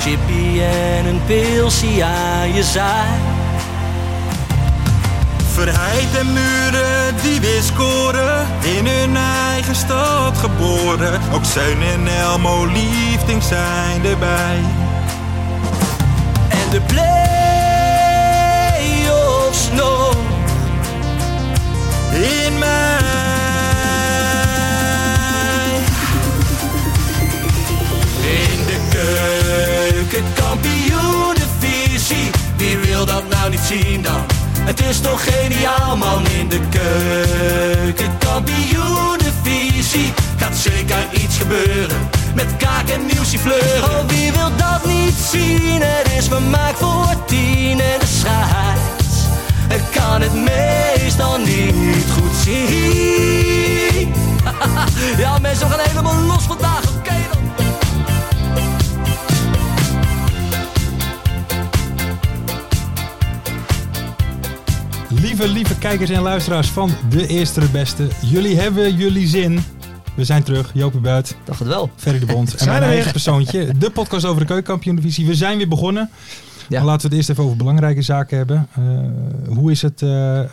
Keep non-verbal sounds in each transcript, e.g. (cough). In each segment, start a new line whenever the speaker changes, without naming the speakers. Chippy en een pilsie aan je zaai.
Verheid en muren die weer scoren, in hun eigen stad geboren. Ook Zeun en Elmo liefdings zijn erbij.
En de play-offs nog.
In mij.
In de keuken, kampioenenvisie. Wie wil dat nou niet zien dan? Het is toch geniaal man in de keuken, kampioenenvisie. Gaat zeker iets gebeuren met kaak en nieuwsje fleuren. Oh, wie wil dat niet zien? Het is vermaakt voor tien en de scheids. Ik kan het meestal niet goed zien. (laughs) Ja, mensen we gaan helemaal los vandaag. Oké dan.
Lieve, lieve kijkers en luisteraars van De Eerste de Beste. Jullie hebben jullie zin. We zijn terug. Jopie Buit,
Dacht het wel.
Ferry de
(laughs)
Bond en mijn eigen persoontje. De podcast over de keukenkampioen-divisie. We zijn weer begonnen.
Ja.
Maar Laten we het eerst even over belangrijke zaken hebben. Eh, hoe is het, eh, eh,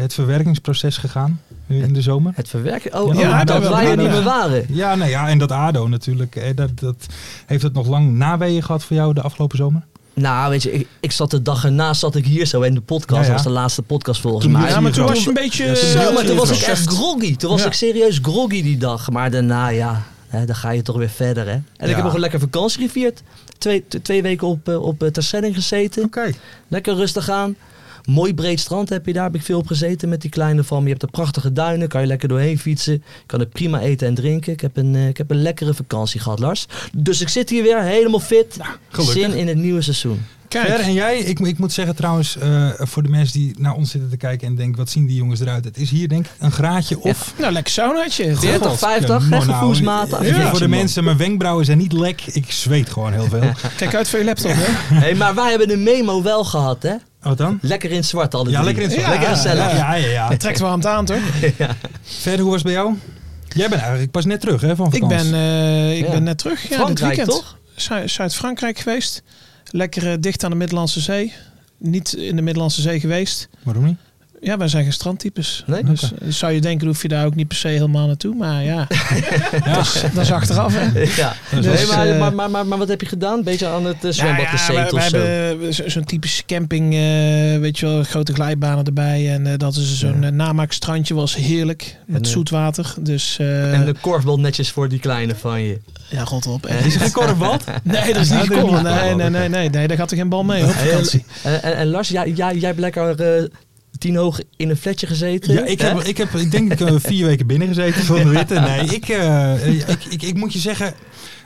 het verwerkingsproces gegaan eh, in de zomer?
Het verwerken. Oh,
Ja,
oh,
ADO
dat
wel.
wij er
ADO.
niet meer waren.
Ja, nou ja, en dat ADO natuurlijk. eh, dat, dat, heeft het nog lang naweeën gehad voor jou de afgelopen zomer?
Nou, weet je, ik, ik zat de dag erna zat ik hier zo in de podcast.
Ja, ja.
Dat was de laatste podcast volgens
Toen
mij.
Ja,
Ja, maar toen
Toen-
was je een beetje...
Ja, maar toen was ik
eh,
echt groggy. Toen was
Ja.
ik serieus groggy die dag. Maar daarna, ja, hè, dan ga je toch weer verder, hè. En ik
Ja.
heb nog een lekker vakantie gevierd. Twee, t- twee weken op, eh, op eh, Terschelling gezeten. Lekker rustig aan. Mooi breed strand heb je daar, heb ik veel op gezeten met die kleine van. me. Je hebt de prachtige duinen, kan je lekker doorheen fietsen. Je kan er prima eten en drinken. Ik heb, een, eh, ik heb een lekkere vakantie gehad, Lars. Dus ik zit hier weer helemaal fit.
gelukkig.
Zin in het nieuwe seizoen.
Kijk,
Ver en jij, ik, ik moet zeggen trouwens, eh, voor de mensen die naar ons zitten te kijken en denken, wat zien die jongens eruit? Het is hier denk ik een graadje of...
nou lekker saunaatje.
30, 50,
Nou,
hè, gevoelsmaat.
nou,
Ja.
Voor de mensen, mijn wenkbrauwen zijn niet lek. Ik zweet gewoon heel
(laughs)
veel.
Kijk uit voor je laptop, hè.
Hey, maar wij hebben een memo wel gehad, hè?
Wat dan?
Lekker in het zwart, alle
Ja,
drie.
lekker in het
Ja.
Lekker gezellig.
Ja, ja, ja.
Het trekt wel aan het aan, toch?
Verder, hoe was het bij jou? Jij bent eigenlijk pas net terug hè, van
Ik
vakantie.
ben, eh, ik
Ja.
ben net terug. Ja, dit
Frankrijk,
weekend.
toch?
Zu- Zuid-Frankrijk geweest. Lekker eh, dicht aan de Middellandse Zee. Niet in de Middellandse Zee geweest.
Waarom
(laughs)
niet?
Ja, wij zijn geen strandtypes.
Nee?
Dus eh, zou je denken, hoef je daar ook niet per se helemaal naartoe. Maar
(laughs)
ja, dat, is, dat is achteraf. Hè.
Ja.
Dus,
Nee, maar,
eh,
maar, maar, maar, maar wat heb je gedaan? Beetje aan het eh, zwembad
Nou ja,
gezeten
we,
of
we
zo?
hebben zo- zo'n typische camping, eh, weet je wel, grote glijbanen erbij. En eh, dat is zo'n eh, namaakstrandje, was heerlijk. Met
eh,
zoet water. Dus eh,
En de korfbal netjes voor die kleine van je.
ja, rot op.
(laughs)
Is er geen korfbal?
nee, dat is niet
dat is
gekomen.
niet
Nee,
gekomen.
nee, nee, nee, nee, daar gaat er geen bal mee op
Hey,
vakantie.
En, en, en Lars, jij, jij, jij hebt lekker eh, tien hoog in een flatje gezeten.
Ja, ik, heb,
Hè?
ik, heb, ik denk ik eh, vier weken binnen gezeten van de witte. Nee, ik, eh, eh, ik, ik, ik moet je zeggen,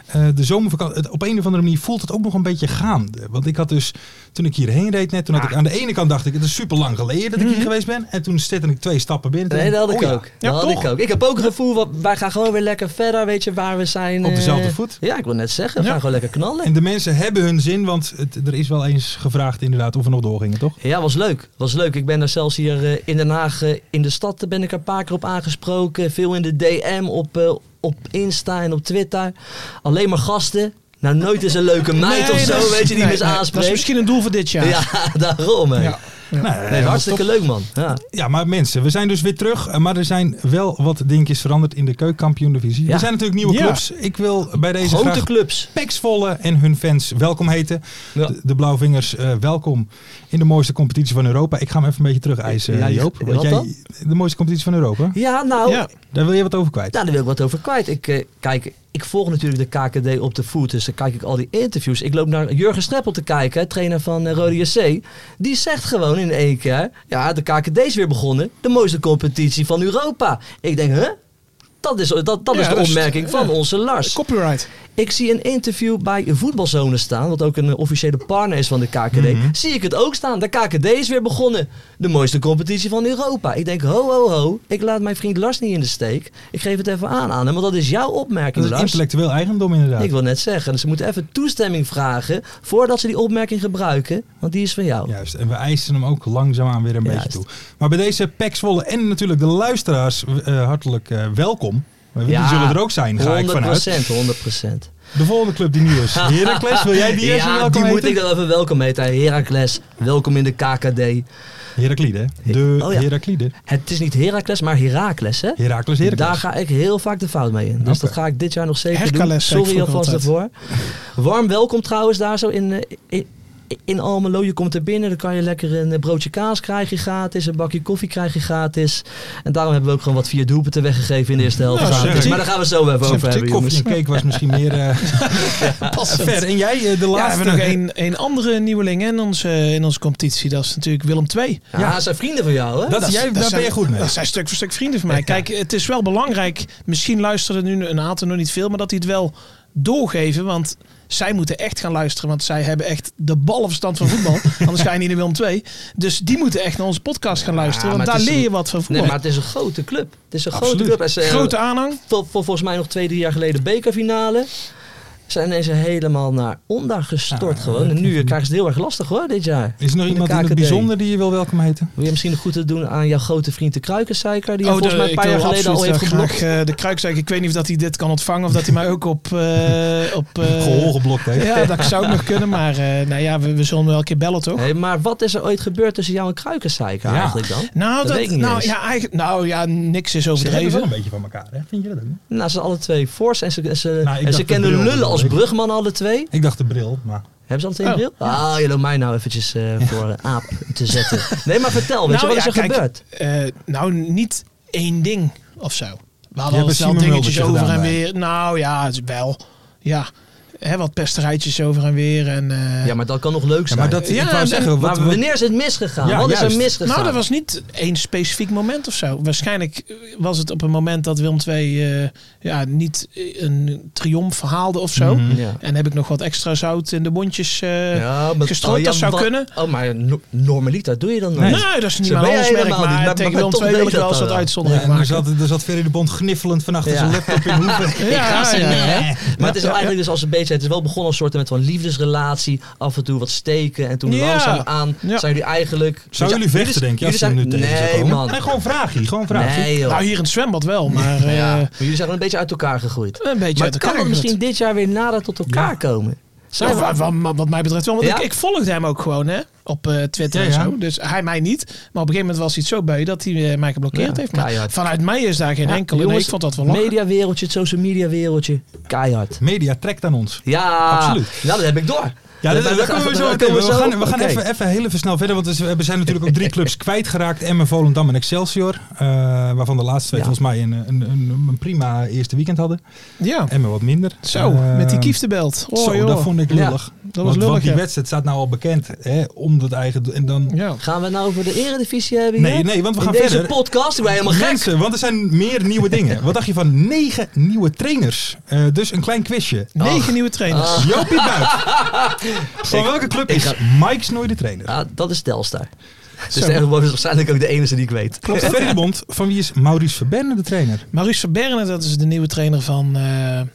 eh, de zomervakantie, het, op een of andere manier voelt het ook nog een beetje gaande. Want ik had dus, toen ik hierheen reed net, toen had ik
Ah.
aan de ene kant dacht ik, het is super lang geleden dat ik hier geweest ben. En toen zette ik twee stappen binnen. Toen
Mhm. Nee, dat had ik
oh ja,
ook. dat had
toch?
ik ook. Ik heb ook het gevoel, wat, wij gaan gewoon weer lekker verder, weet je, waar we zijn.
Op
eh,
dezelfde voet.
Ja, ik wil net zeggen, we
Ja.
gaan gewoon lekker knallen.
En de mensen hebben hun zin, want het, er is wel eens gevraagd inderdaad of we nog doorgingen, toch?
Ja, was leuk. Was leuk. Ik ben daar zelfs hier eh, in Den Haag eh, in de stad eh, ben ik er een paar keer op aangesproken. Veel in de DM, op, eh, op Insta en op Twitter. Alleen maar gasten. Nou, nooit is een leuke meid
Nee,
of zo,
dat is-
weet je, die
nee,
me eens
nee, Dat is
aanspreekt.
misschien een doel voor dit jaar.
Ja, (laughs) daarom. Hè.
Ja.
Nou, eh,
Nee,
dat was
hartstikke leuk, man. Ja.
Ja, maar mensen, we zijn dus weer terug. eh, Maar er zijn wel wat dingetjes veranderd in de keukenkampioen-divisie.
Ja.
Er zijn natuurlijk nieuwe
Ja.
clubs. Ik wil bij deze
Grote
graag
clubs.
Pax Volle en hun fans welkom heten.
Ja.
De, de Blauwvingers, eh, welkom in de mooiste competitie van Europa. Ik ga hem even een beetje terug eisen,
Ja, die-
Joop.
wat dan?
de mooiste competitie van Europa,
Ja, nou,
Ja.
daar wil je wat over kwijt.
Nou, daar wil ik wat over kwijt. Ik, eh, kijk, ik volg natuurlijk de KKD op de voet. Dus dan kijk ik al die interviews. Ik loop naar Jurgen Streppel te kijken, hè, trainer van eh, Rode JC. Die zegt gewoon in één keer... Ja, de KKD is weer begonnen. De mooiste competitie van Europa. Ik denk, hè? Dat is, dat, dat
Ja,
is de
dat is-
opmerking van
ja.
onze Lars.
Copyright.
Ik zie een interview bij Voetbalzone staan, wat ook een eh, officiële partner is van de KKD.
Mhm.
Zie ik het ook staan. De KKD is weer begonnen. De mooiste competitie van Europa. Ik denk, ho, ho, ho. Ik laat mijn vriend Lars niet in de steek. Ik geef het even aan aan hem, want dat is jouw opmerking,
Dat is
Lars.
intellectueel eigendom inderdaad.
Ik wil net zeggen, dus ze moeten even toestemming vragen voordat ze die opmerking gebruiken, want die is van jou.
Juist, en we eisen hem ook langzaamaan weer een
Juist.
beetje toe. Maar bij deze Pek Zwolle en natuurlijk de luisteraars eh, hartelijk eh, welkom. Eh, Die zullen er ook zijn, ga ik vanuit.
100 procent, 100%.
De volgende club
(laughs)
die nieuw is. Heracles, wil jij die eerst een
Ja,
welkom
die moet
heten?
ik dan even welkom heten. Heracles, welkom in de KKD.
Heraclide, hè? de
Oh ja.
Heraclide.
Het is niet Heracles, maar Heracles, hè?
Heracles, Heracles.
Daar ga ik heel vaak de fout mee in. Dus
Oké.
dat ga ik dit jaar nog zeker doen.
Hercules, zei ik
Sorry
vroeger
alvast daarvoor. Warm welkom trouwens daar zo in, eh, in, in Almelo. Je komt er binnen, dan kan je lekker een eh, broodje kaas krijgen gratis. Een bakje koffie krijgen gratis. En daarom hebben we ook gewoon wat vier doelpunten weggegeven in de eerste helft.
Nou,
gratis.
zeg ik.
maar daar gaan we het zo even over hebben,
Koffie
jongens.
en cake was misschien meer
(laughs)
eh,
Passend.
ver. En jij, eh, de
Ja, we
laatste.
hebben nog één, één andere nieuweling hè, in onze, in onze competitie. Dat is natuurlijk Willem II.
Ja, dat zijn vrienden van jou, hè?
Dat, jij, daar
zijn-
ben je goed mee.
Dat zijn stuk voor stuk vrienden van mij. Kijk, het is wel belangrijk. Misschien luisteren nu een aantal nog niet veel, maar dat die het wel doorgeven. Want zij moeten echt gaan luisteren. Want zij hebben echt de ballenverstand van voetbal. Anders ga je niet in Willem 2. Dus die moeten echt naar onze podcast gaan luisteren.
maar
want daar
het is
leer je
een-
wat van
Nee,
voetbal.
maar het is een grote club. Het is een
Absoluut.
grote club. En ze hebben
Grote aanhang.
vol- vol- volgens mij nog twee, drie jaar geleden bekerfinale. Zijn ineens helemaal naar onder gestort
Ah,
gewoon. En nu krijgen ze het heel erg lastig hoor, dit jaar.
Is er nog
de
iemand in het
KKD.
bijzonder die je wil welkom heten?
Wil je misschien goed te doen aan jouw grote vriend de Kruikenzeiker?
Oh,
Die je volgens
Oh, de-
mij een paar
ik
jaar
wil
geleden al
absoluut
heeft
wel
geblokt.
graag, eh, de kruikzak. Ik weet niet of dat hij dit kan ontvangen. Of dat hij mij ook op...
(laughs)
eh op eh,
Gehoor geblokt heeft.
Ja, dat zou ook nog kunnen. Maar eh, nou ja, we, we zullen wel een keer bellen toch?
Hey, maar wat is er ooit gebeurd tussen jou en Kruikenzeiker
Ja.
eigenlijk dan?
Nou,
Dat
dat,
weet ik niet
nou,
eens.
ja, eigenlijk, nou ja, niks is
Ze hebben wel
overdreven.
een beetje van elkaar, hè? Vind je dat ook? niet?
Nou, ze zijn alle twee fors en ze, en ze,
Nou, ik
en
dacht
ze
de
kennen
bril,
lullen als
ik-
brugman alle twee.
Ik dacht de bril, maar...
Hebben ze alle twee een
Oh,
bril? Ah, je loopt mij nou eventjes eh, voor een aap te zetten. Nee, maar vertel, weet
Nou,
je, wat
ja,
is er
kijk,
gebeurd?
eh, nou, niet één ding of zo. We hadden
hebt
al
een
snel
Simon
dingetjes
Muldertje
over en
gedaan bij.
weer. Nou ja, het is wel. Ja, hè, wat pesterijtjes over en weer. En, eh,
Ja, maar dat kan nog leuk
Ja,
zijn.
maar dat,
Ja,
ik wou
en-
zeggen... Wat,
maar wanneer is het misgegaan?
Ja,
Wat is
juist.
er misgegaan?
nou, dat was niet één specifiek moment of zo. Waarschijnlijk eh, was het op een moment dat Willem II eh, ja, niet eh, een triomf verhaalde of zo.
Mhm.
Ja.
En heb ik nog wat extra zout in de mondjes eh,
Ja, maar-
gestrooid,
oh, ja,
dat zou
wat-
kunnen.
Oh, maar no- normaliter doe je dan nooit.
Nee, dat is niet
Zo
mijn
ben jij
handelsmerk.
helemaal niet.
Maar
Maar-
tegen
maar
Willem
toch
II wil
deed
ik
dat eh,
wel eens
dan
wat
wel.
Ja,
uitzondering
en er,
maken.
zat, er zat Ferry de Bond gniffelend van achter
Ja.
zijn laptop in (laughs) hoeven.
Ja, ja, ja.
Maar het is eigenlijk dus als een beetje, het is wel begonnen als een soort met van liefdesrelatie, af en toe wat steken en toen
Ja.
langzaam aan
Ja.
zijn jullie eigenlijk...
Zou jullie vechten, denk je, als
Jullie
ze hem
zijn,
nu tegen zou
nee,
komen?
man.
Nee, gewoon vraagje, gewoon vraagje.
Nee, joh.
Nou, hier in het zwembad wel, maar eh,
Ja. Maar jullie zijn wel een beetje uit elkaar gegroeid.
een beetje
Maar
uit elkaar.
kan het
gezet.
misschien dit jaar weer nader tot elkaar
Ja.
komen?
Ja, wa- wa- ma- wat mij betreft wel. Want
Ja?
ik, ik volgde hem ook gewoon hè, op eh, Twitter
Ja,
en
ja.
zo. Dus hij mij niet. Maar op een gegeven moment was hij het zo beu dat hij eh, mij geblokkeerd
Ja,
heeft. Maar
keihard.
vanuit mij is daar geen
Ja,
enkele.
jongens,
nee, ik vond dat wel lachen.
Mediawereldje, het social media wereldje, keihard.
Media trekt aan ons.
Ja,
Absoluut.
Nou, dat heb ik door.
Ja, dat,
maar
dat komen we zo
dat
meteen.
komen
We gaan, we gaan
Oké.
even, even heel even snel verder. Want dus we zijn natuurlijk ook drie (laughs) clubs kwijtgeraakt. Emmen, Volendam en Excelsior. eh, waarvan de laatste twee
Ja.
volgens mij een, een, een, een prima eerste weekend hadden.
Ja,
Emmen wat minder.
zo,
Eh,
met die kieftenbelt. Oh,
zo,
joh.
dat vond ik lullig.
was
want,
lullig,
want die
ja.
wedstrijd staat nou al bekend. Hè, om dat eigen... doel- En dan...
ja.
Gaan we het nou over de eredivisie hebben hier?
Nee, nee, want we gaan
In deze
verder.
podcast? Ik ben helemaal gek.
Mensen, want er zijn meer nieuwe dingen. Wat dacht je van negen nieuwe trainers? Eh, dus een klein quizje.
Negen nieuwe trainers.
Ah.
Joopie
(laughs)
Buit. Van welke club is Mike Snoei de trainer?
Ja, dat is Telstar. Dus tegenwoordig is waarschijnlijk ook de enige die ik weet.
Klopt. Ferry de Eh, Bond, van wie is Maurice Verberne de trainer?
Maurice Verberne, dat is de nieuwe trainer van, eh, eh,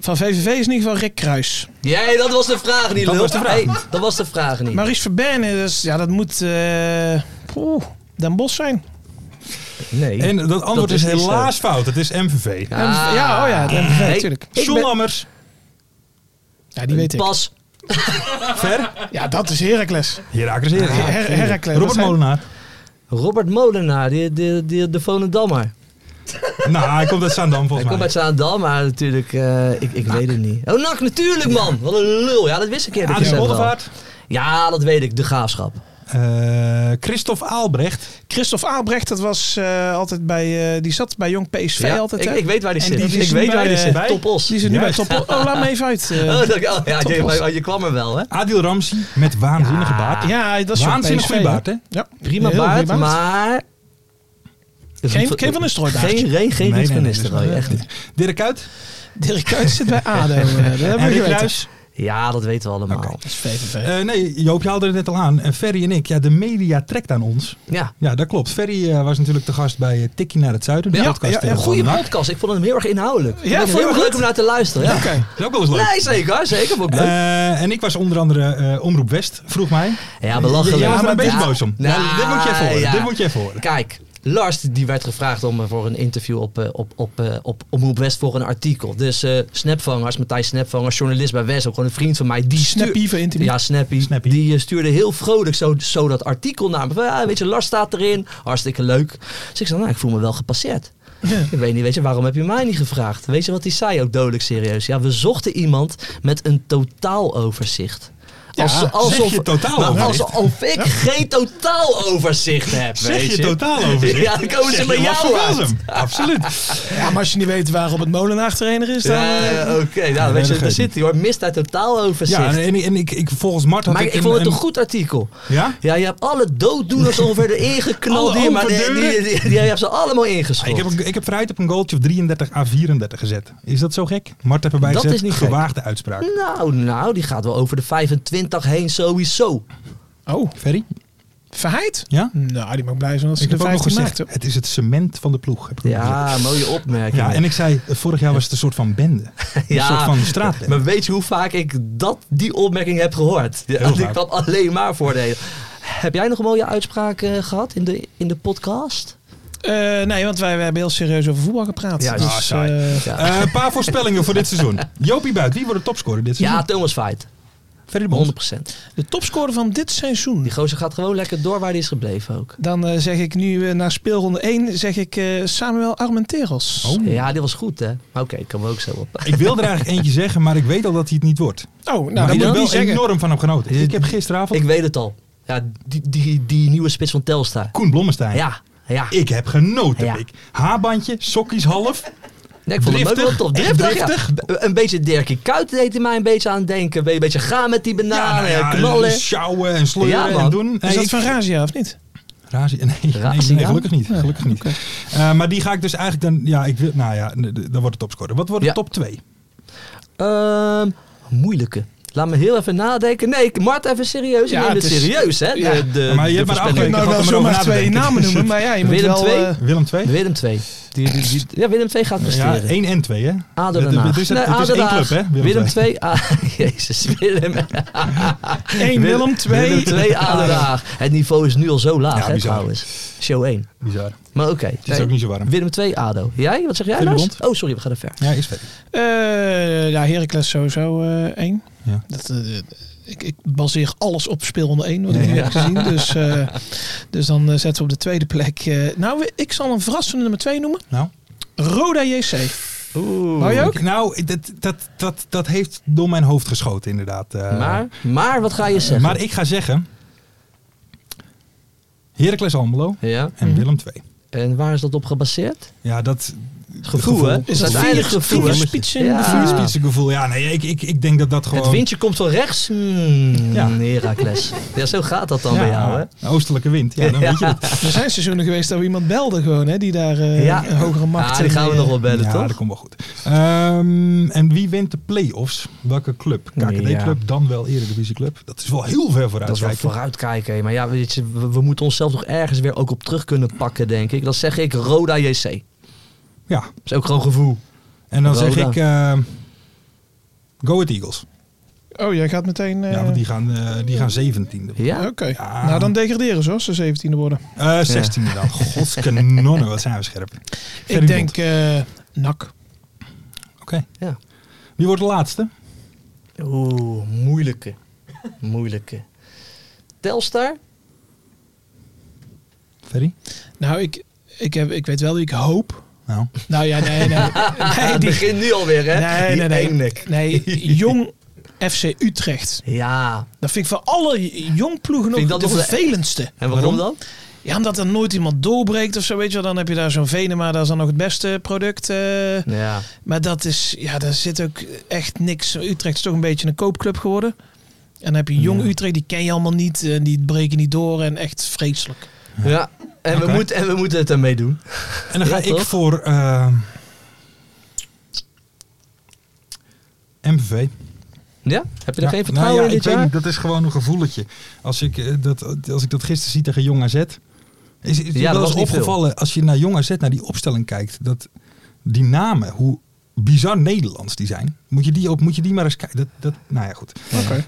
van VVV, is in ieder geval Rick Kruis.
Jij, dat was de vraag niet,
Dat
lul.
was de vraag
Hey,
niet.
dat was de vraag niet.
Maurice Verberne, dat, is- ja, dat moet eh oeh, Den Bos zijn.
nee.
En dat antwoord
Dat
is,
is niet
helaas fout. Het is MVV.
Ah.
MV ja, oh ja, het MVV,
Hey,
natuurlijk.
ik
John
ben-
Lammers.
Ja, die weet ik.
Pas.
Ver.
Ja, dat is Heracles.
Herakles Herakles.
Her- Her- Heracles, dat
Robert
zijn-
Molenaar.
Robert Molenaar, die, die, die, de Volendammer.
Nou, hij komt uit Zaandam
Hij
volgens
komt
mij.
uit Zaandam, maar natuurlijk, eh, ik, ik weet het niet. Oh, Nak, natuurlijk man. Wat een lul. Ja, dat wist ik eerder
Adrie
gezegd wel.
Boldevaart.
Ja, dat weet ik. De Graafschap.
Eh, Christophe Aalbrecht.
Christophe Aalbrecht, dat was eh, altijd bij, eh, die zat bij Jong PSV
Ja,
altijd.
ik,
hè?
ik weet waar die
En
zit.
die
ik
is
weet
nu
waar
bij,
die
eh,
zit.
bij-
Topos.
die is er nu bij
Juist.
Top. Oh, laat me even uit. eh.
Oh, dat- oh, ja, je,
Topos.
oh, je kwam er wel, hè?
Adil Ramsi met waanzinnige baard.
ja, dat is Jong
Waanzinnig
PSV,
goede baard, hè?
Ja,
Prima
Heel
baard,
goede
maar...
Geen- geen Van Nistelrooy baardje.
Geen, geen, geen
Nee,
Ruud
nee,
van
nee,
Nistelrooy,
dat is
echt
wel-
niet.
Dirk Kuyt.
Dirk Kuyt zit bij
(laughs)
ADO. eh, Dat hebben
En
we
Rick
geweten.
Luijs?
Ja, dat weten we allemaal.
Oké.
Dat is VVV.
Eh, nee, Joop, je haalde het net al aan. En Ferry en ik, ja, de media trekt aan ons.
Ja.
Ja, dat klopt. Ferry eh, was natuurlijk te gast bij eh, Tikkie naar het Zuiden. de
Ja,
podcast
ja, ja,
eh, van
Goede
NAC.
podcast. Ik vond hem heel erg inhoudelijk.
Ja,
ik vond
vond je
heel erg
hem
leuk
goed?
om naar te luisteren. Ja.
Oké.
Dat is ook wel eens leuk.
Nee, zeker. Zeker. Vond ik leuk.
Eh, en ik was onder andere eh, Omroep West, vroeg mij.
Ja, belachelijk.
Jij was er
Ja,
een beetje
maar-
boos om.
Nou,
Ja, dit moet je even horen.
ja.
Dit moet je even horen.
Kijk, Lars die werd gevraagd om eh, voor een interview op, eh, op, op, eh, op Omroep West voor een artikel. Dus eh Snapvangers, Matthijs Snapvangers, journalist bij West, ook gewoon een vriend van mij. Die stuur-
Snappy van Intimie.
Ja, Snappy.
Snappy.
Die eh, stuurde heel vrolijk zo, zo dat artikel naar me. Van, ja, weet je, Lars staat erin. Hartstikke leuk. Dus ik zei, nou, ik voel me wel gepasseerd. Ik weet niet, weet je, waarom heb je mij niet gevraagd? Weet je wat hij zei ook dodelijk serieus? Ja, we zochten iemand met een totaaloverzicht.
zeg je totaaloverzicht?
Nou, alsof ik geen totaaloverzicht heb,
Zeg
weet
je totaaloverzicht?
Ja, dan komen ze bij jou uit.
Absoluut.
Ja, maar als je niet weet waar op het molenaar trainer is, dan...
Ja,
eh,
Oké, nou, weet je,
dat
daar
geeft
zit hij hoor. Mist uit totaaloverzicht.
Ja, en, en ik, ik, volgens Mart had
maar
ik,
ik, vond het
een-
een goed artikel.
Ja?
Ja, je hebt alle dooddoeners ongeveer erin geknald.
Alle
hier, maar die,
open
die, die, die- die heb ze allemaal ingeschoten.
Ik heb, een- ik heb vooruit op een goaltje of 33 à 34 gezet. Is dat zo gek? Mart heeft erbij
Dat
gezet,
is niet gek.
gewaagde uitspraak.
Nou, nou, die gaat wel over de 25 heen sowieso.
Oh,
Ferry?
verheid?
Ja?
Nou, die mag blij zijn als ze
Ik
de
heb ook nog
15
gezegd,
maakt. hoor.
het is het cement van de ploeg. Heb ik nog gezegd.
Ja, mooie opmerking.
ja, en ik zei, eh, vorig jaar was het een soort
(laughs)
van bende. Een
Ja,
soort van straatbende.
Maar weet je hoe vaak ik dat, die opmerking heb gehoord? Ja,
Heel
die
vaak.
kwam alleen maar voordelen. Heb jij nog een mooie uitspraak eh, gehad in de, in de podcast?
Eh, nee, want wij, wij hebben heel serieus over voetbal gepraat.
Ja, ah,
dus,
saai.
eh,
Ja,
Eh, Een paar voorspellingen voor dit
(laughs)
seizoen. Jopie Buit, wie wordt de topscorer dit seizoen?
ja Thomas Feit.
Ferry de Bond.
100%.
de topscorer van dit seizoen.
Die gozer gaat gewoon lekker door waar hij is gebleven ook.
Dan eh, zeg ik nu eh, na speelronde 1 zeg ik, eh, Samuel Armenteros.
Oh.
Ja, die was goed hè. Maar oké, ik komen we ook zo op.
Ik wil er eigenlijk eentje zeggen, maar ik weet al dat hij het niet wordt.
Oh,
maar
nou,
ik
die
heb
wil ik
wel
niet zeggen.
enorm van hem genoten. Ik heb gisteravond
Ik weet het al. Ja, die, die, die nieuwe spits van Telstar.
Koen Blommestein.
Ja, ja.
Ik heb genoten.
Ja.
Ik. Haarbandje, sokjes half.
Nee, ik vond hem ook wel
Driftig,
tof.
echt
Driftig, ja.
driftig.
B- Een beetje Dirkie Kuyt deed hij mij een beetje aan denken. Een beetje gaan met die bananen,
nou ja,
knallen.
en sjouwen en sleuren
Ja, man.
en doen.
Is
Nee,
dat
ik-
van Razia of niet?
Razi- nee, nee,
Razia?
nee, gelukkig niet. Gelukkig niet. Eh, maar die ga ik dus eigenlijk dan... Ja, ik wil, nou ja, n- d- dan wordt het topscorer. Wat wordt de
Ja.
top 2?
Ehm, moeilijke. Laat me heel even nadenken. Nee, ik- Mart, even serieus. Ik
Ja,
neem dit
het is-
serieus, hè?
ja.
De, de,
Maar je
de
hebt maar
voorspelling.
afgelopen-
Ik nou
had
wel
hem erover
zomaar twee
nadenken.
namen noemen, maar ja, je moet
Willem
wel...
II?
eh,
Willem 2?
Willem 2. Die, die, die- ja, Willem 2 gaat
Ja,
presteren.
1 en 2, hè?
ADO
Het-
Den Haag.
Het is, het,
Nee,
het is
ADO Den
één club,
Haag.
hè?
Willem
II.
2. Ah, (laughs) jezus,
(laughs)
Willem.
1 Willem 2.
Willem 2, ADO Den Haag. Het niveau is nu al zo laag,
Ja,
hè,
bizar.
trouwens. Show 1.
Bizar.
Maar oké.
Het is ook niet zo warm.
Willem 2, ADO. Jij? Wat zeg jij,
Willem
Lars?
Bond.
Oh, sorry, we gaan er ver.
Ja, is verder.
Eh, ja, Heracles sowieso eh, één.
Ja.
Dat, eh, ik, ik baseer alles op speelronde 1, wat ik
Ja.
nu heb gezien. Dus, eh, dus dan eh, zetten we op de tweede plek. eh, nou, we- ik zal een verrassende nummer 2 noemen.
Nou?
Roda JC. Oeh.
Oh,
Hou je ook?
Ik- Nou, dat, dat, dat, dat heeft door mijn hoofd geschoten, inderdaad. eh.
Maar, maar wat ga je zeggen?
Maar ik ga zeggen... Heracles Almelo
ja.
en Willem 2.
En waar is dat op gebaseerd?
Ja, dat...
Gevoel, hè?
Is dat
Vier-
eigenlijk
vier
gevoel?
spitsen.
Ja.
Ja.
Vier gevoel. Ja, nee, ik, ik, ik denk dat dat gewoon...
Het windje komt van rechts. Hmm,
Ja.
ja. Herakles. Ja, zo gaat dat dan
ja,
bij jou, hè?
een Oostelijke wind.
(laughs)
Ja, dan weet je het.
Er zijn seizoenen geweest dat we iemand belden gewoon, hè, die daar eh,
Ja.
een hogere macht...
Ah, die gaan we
eh,
nog wel bellen,
ja, dat
toch?
komt wel goed. Ehm, en wie wint de play-offs? Welke club? KKD-club, dan wel Eredivisieclub. Dat is wel heel ver vooruit.
Dat is wel vooruitkijken. hè. Maar ja, weet je, we, we moeten onszelf nog ergens weer ook op terug kunnen pakken, denk ik. Dat zeg ik Roda JC. Dat
Ja,
is ook gewoon gevoel.
en dan zeg
Roda.
ik... ehm, Go Ahead Eagles.
Oh, jij gaat meteen... eh,
Ja, want die gaan, eh, die gaan 17e.
Ja?
Oké.
Ja.
Nou, dan degraderen ze als ze 17e worden.
Eh 16e dan. Godskanonnen, wat zijn we scherp. Ferry
ik denk eh NAC.
Bond. Oké.
Ja.
Wie wordt de laatste?
Oeh, moeilijke. Moeilijke. Telstar?
Ferry?
Nou, ik, ik, heb, ik weet wel wie ik hoop.
Nou,
Nou ja,
(laughs)
nee, nee. nee,
Het
die-
begint nu alweer, hè?
nee,
Die
nee, nee.
engnek.
Nee, jong FC Utrecht.
Ja.
Dat vind ik van alle jong ploegen
Vind
ook
ik
dat
dat
de
nog de-
vervelendste.
En waarom dan?
Ja, omdat er nooit iemand doorbreekt of zo, weet je wel. Dan heb je daar zo'n Venema, dat is dan nog het beste product. eh.
Ja.
Maar dat is, ja, daar zit ook echt niks. Utrecht is toch een beetje een koopclub geworden. En dan heb je jong Utrecht, die ken je allemaal niet. En die breken niet door en echt vreselijk.
Ja, en,
Oké.
we moeten, en we moeten het ermee doen.
en dan ga
Ja,
ik
toch?
voor... ehm, MVV.
Ja? Heb je er
Ja,
geen vertrouwen
nou ja,
in dit
ik weet
jaar?
niet, dat is gewoon een gevoeletje. Als ik, eh, dat, als ik dat gisteren zie tegen Jong AZ... Is, is
dat
ja, wel
was
eens
niet veel.
opgevallen, als je naar Jong AZ, naar die opstelling kijkt... dat die namen, hoe bizar Nederlands die zijn... moet je die, ook, moet je die maar eens kijken. Dat, dat, nou ja, goed.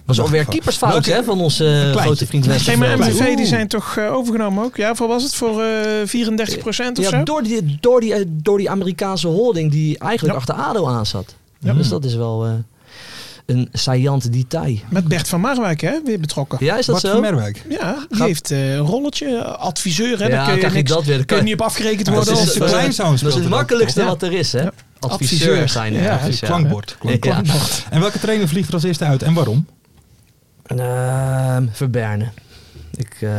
was alweer keepersfout
Welke-
hè, van onze eh,
Kleintje.
grote vriend
Nee,
Westerveld.
maar MVV die
Oeh.
zijn toch eh, overgenomen ook? Ja, voor was het? Voor eh 34 procent of
ja,
zo?
door, die, door, die, eh, door die Amerikaanse holding die eigenlijk achter ADO aan zat. Dus dat is wel eh, een saillant detail.
Met Bert van Marwijk, hè? Weer betrokken. Ja,
Ja, is dat
Bart
zo?
van Merwijk.
die
Gaat-
heeft eh, een rolletje. eh, Adviseur, hè?
Ja,
Daar kun je,
kijk,
niks,
dat weer.
kun je niet op afgerekend worden.
dat is
als-
de klein zo'n
dat
speelt
is het
het ook,
makkelijkste
toch?
wat er is, hè?
Ja.
Adviseur zijn
Ja,
hè?
ja,
Adviseur.
Klankbord.
Ja.
klankbord. En welke trainer vliegt er als eerste uit en waarom?
Ehm, Verberne. Ik, eh,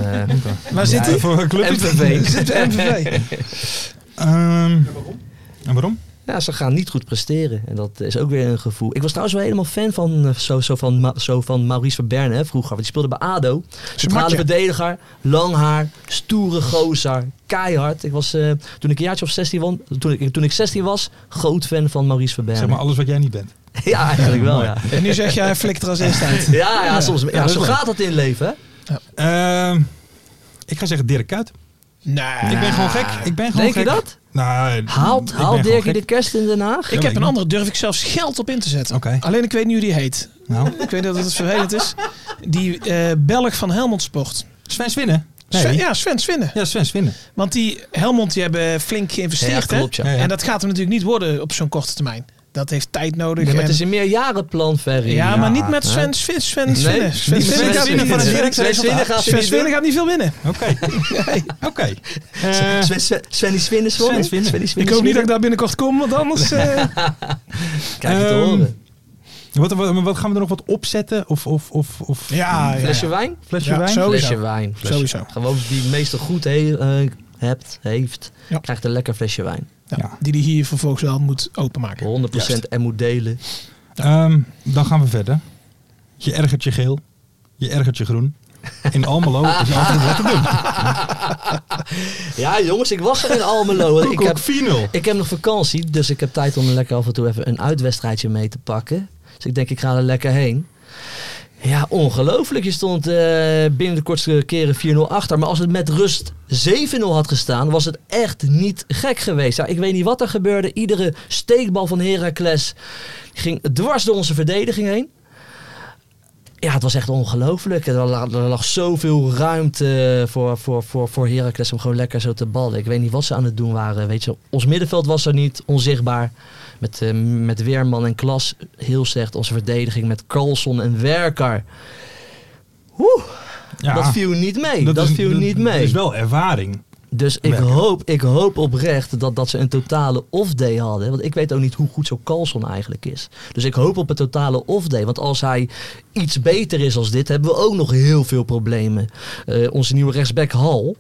Waar zit hij?
Ja, voor welke club is dat? (laughs)
MVV.
Zit de MVV.
Ehm, en waarom?
ja, ze gaan niet goed presteren. En dat is ook weer een gevoel. Ik was trouwens wel helemaal fan van, eh, zo, zo van, Ma- zo van Maurice Verberne hè, vroeger. Want die speelde bij ADO. Centrale
matje.
verdediger, lang haar, stoere gozer, keihard. Ik was, eh, toen ik een jaartje of 16 won, toen ik, toen ik 16 was, groot fan van Maurice Verberne.
Zeg maar alles wat jij niet bent.
(laughs) ja, eigenlijk wel, ja.
En nu zeg jij, flikt er als eerste uit.
Ja, ja, soms, ja,
dat is
zo
waar.
gaat dat in het leven, hè?
Ehm, ik ga zeggen Dirk Kuyt.
Nee.
Ik ben gewoon gek. Ik ben gewoon
Ah. Denk je
gek.
dat?
Nou,
Haalt,
ik
haalt
ben gewoon
Dirkie
gek.
de kerst in Den Haag?
Ik
Ja,
heb een
ik-
andere, durf ik zelfs geld op in te zetten.
Oké.
Alleen ik weet niet hoe die heet.
Nou,
Ik weet dat het vervelend is. Die eh, Belg van Helmond Sport.
Sven Swinnen. Nee.
Sven,
ja.
ja, Sven Swinnen.
Sven Swinnen.
Want die Helmond die hebben flink geïnvesteerd.
Ja, klopt,
hè?
ja.
Ja, ja.
En dat gaat hem natuurlijk niet worden op zo'n korte termijn. Dat heeft tijd nodig.
Ja, maar het
en-
is een meerjarenplan, Ferry.
ja, maar niet met
hè?
Sven Sven Sven Swinnen. Sven
niet
Swinnen
Sven
gaat
Swinnen
niet
van
winnen.
het
Sven Swinnen gaat
Sven
het niet
Swinnen
doen.
gaat niet veel winnen.
(laughs)
Oké. Oké. Eh,
Sven- Sven- Svenny Swinnen, Sven
Sven Swinnen.
Svenny
Ik
Swinnen.
hoop niet dat ik daar binnenkort kom, want anders... eh,
Krijg je te
Ehm,
horen.
Wat, wat, wat gaan we er nog wat opzetten? Of, of, of, of
(laughs) (laughs) ja, ja,
Flesje wijn?
flesje
Ja,
wijn?
zo. Sowieso.
Flesje wijn.
Sowieso.
Gewoon die het meestal goed he- eh, hebt, heeft,
Ja.
krijgt een lekker flesje wijn.
Ja, die die hier vervolgens wel moet openmaken.
100% en moet delen.
Ehm, dan gaan we verder. Je ergert je geel. Je ergert je groen. In Almelo is altijd wat te doen.
Ja, jongens, ik was er in Almelo. want (laughs) ik, heb,
Koekoek 4-0.
ik heb nog vakantie, dus ik heb tijd om lekker af en toe even een uitwedstrijdje mee te pakken. Dus ik denk, ik ga er lekker heen. Ja, ongelooflijk. Je stond eh, binnen de kortste keren 4-0 achter. Maar als het met rust 7-0 had gestaan, was het echt niet gek geweest. Ja, ik weet niet wat er gebeurde. Iedere steekbal van Heracles ging dwars door onze verdediging heen. Ja, het was echt ongelooflijk. Er lag, er lag zoveel ruimte voor, voor, voor, voor Heracles om gewoon lekker zo te ballen. Ik weet niet wat ze aan het doen waren. Weet je, ons middenveld was er niet, onzichtbaar. Met, eh, met Weerman en Klas heel slecht. Onze verdediging met Carlson en Werker. Oeh,
Ja,
dat viel niet mee. Dat,
is-
viel niet mee.
Dat is wel ervaring.
Dus ik
Werker.
hoop, ik hoop oprecht dat, dat ze een totale off-day hadden. Want ik weet ook niet hoe goed zo'n Carlson eigenlijk is. Dus ik hoop op een totale off-day. Want als hij iets beter is als dit, hebben we ook nog heel veel problemen. Eh, onze nieuwe rechtsback Hal,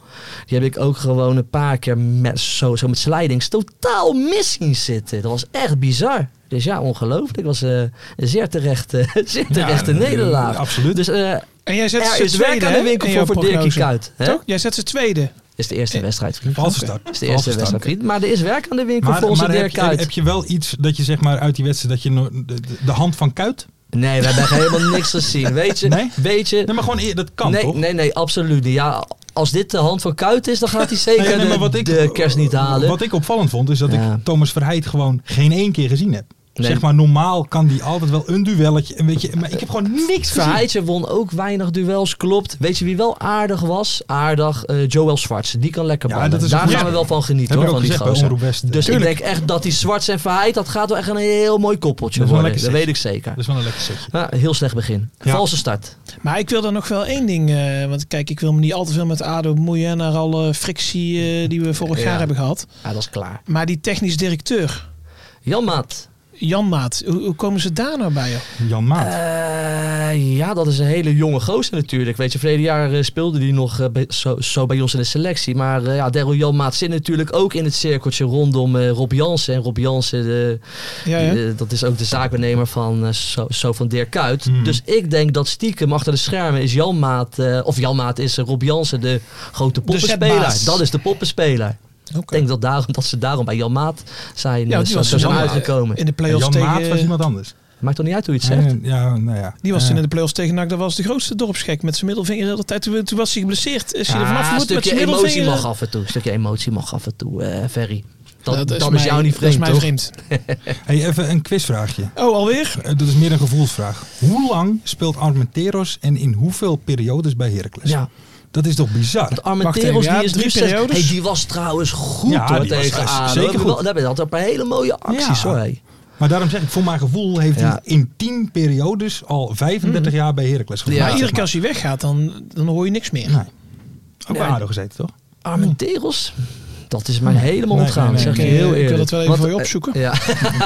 die heb ik ook gewoon een paar keer met, zo, zo met slidings totaal mis zien zitten. Dat was echt bizar. Dus ja, ongelooflijk. Het was eh, een zeer terechte, (laughs) zeer terechte
eh,
nederlaag.
absoluut.
Dus eh,
En jij zet
er
ze
is
tweede,
werk aan de
hè,
winkel
in
voor,
jouw
voor Dirkie
prognose.
Kuyt. hè?
Toch? Jij zet ze tweede.
is de eerste wedstrijd.
Eh, Valse start.
Dat is de eerste
Valse start.
wedstrijd. vriend. Maar er is werk aan de winkel voor onze
heb,
Dirk
je,
Kuyt.
heb je wel iets dat je zeg maar uit die wedstrijd dat je no- de, de- de hand van Kuit?
Nee, we hebben helemaal niks gezien. Weet je?
Nee?
Weet je?
Nee, maar gewoon eer- dat kan
nee,
toch?
nee, nee, absoluut niet. Ja, als dit de hand van Kuit is, dan gaat hij zeker
Nee, nee, maar
de, de kerst niet halen.
Wat ik opvallend vond is dat
Ja.
ik Thomas Verheid gewoon geen één keer gezien heb.
Nee.
Zeg maar normaal kan die altijd wel een duelletje, een beetje, maar ik heb
Eh,
gewoon niks gezien.
Verheidje won ook weinig duels, klopt. Weet je wie wel aardig was? Aardig, eh Joel Zwarts. Die kan lekker
Ja,
ballen.
dat is
Daar
een goeie.
gaan we wel van genieten,
Heb ik
hoor,
ook
van die
gezegd bij
gozer.
Omroep West.
Dus
Tuurlijk.
ik denk echt dat die Zwarts en Verheid, dat gaat wel echt een heel mooi koppeltje
Dat is wel
worden. Dat
lekker
weet ik zeker.
Dat is wel een lekker setje.
Ja, heel slecht begin.
Ja.
Valse start.
Maar ik wil er nog wel één ding. eh, want kijk, ik wil me niet al te veel met ADO bemoeien. hè, Naar alle frictie eh, die we vorig
Ja.
jaar hebben gehad.
Ja, Ah, dat is klaar.
Maar die technisch directeur,
Jan Maat.
Jan Maat. Hoe, hoe komen ze daar nou bij? Joh?
Jan Maat.
Eh, ja, dat is een hele jonge gozer natuurlijk. Weet je, verleden jaar eh, speelde hij nog eh, bij- zo, zo bij ons in de selectie. Maar eh, ja, Daryl Jan Maat zit natuurlijk ook in het cirkeltje rondom eh, Rob Jansen. En Rob Jansen, de-
Ja, ja.
eh, dat is ook de zaakbenemer van, eh, zo, zo van Dirk Kuyt.
Hmm.
Dus ik denk dat stiekem achter de schermen is Jan Maat, eh, of Jan Maat is eh, Rob Jansen de grote poppenspeler.
zetbaas.
dat is de poppenspeler. Ik denk dat, daarom, dat ze daarom bij Jan Maat zijn,
Ja,
eh,
die
zo,
was
zo zijn
Jan Maat.
uitgekomen.
In de play-offs
Jan
tegen...
Maat was iemand anders.
Maakt toch niet uit hoe je het zegt?
Nee, Ja, nou ja.
Die was
Ja.
toen in de playoffs tegen NAC, dat was de grootste dorpsgek. Met zijn middelvinger de hele tijd. Toen, toen was hij geblesseerd. Is hij er vanaf
een
gemoet met
Ah, stukje
zijn
emotie
middelvinger.
mag af en toe. Een stukje emotie mag af en toe, eh, Ferry. Dat, dat, is,
mijn-
jou niet
Dat is
vreemd,
mijn
toch?
vreemd.
Hey, even een quizvraagje.
Oh, alweer?
Eh, Dat is meer een gevoelsvraag. Hoe lang speelt Armenteros en in hoeveel periodes bij Heracles?
Ja,
Dat is toch bizar?
want Armenteros
Wacht even, ja,
die is
drie
nu zes-
periodes.
Hey, die was trouwens goed
Ja,
hoor,
die was
tegen
echt
ADO.
zeker
Heb je
goed.
wel- Daar ben je altijd een paar hele mooie acties
Ja.
hoor. hé.
Maar daarom zeg ik, voor mijn gevoel heeft
Ja.
hij in 10 periodes al 35 jaar bij Heracles
Mhm. Ja.
gedaan.
maar iedere keer
kan
als hij weggaat, dan, dan hoor je niks meer.
Nee. Ook bij
Ja.
ADO gezeten, toch?
Armenteros? Dat is mij helemaal
Nee,
ontgaan,
nee, nee,
zeg
nee.
je heel
Ik wil
eerlijk.
dat wel even
Want- eh,
voor je opzoeken. (laughs)
Ja.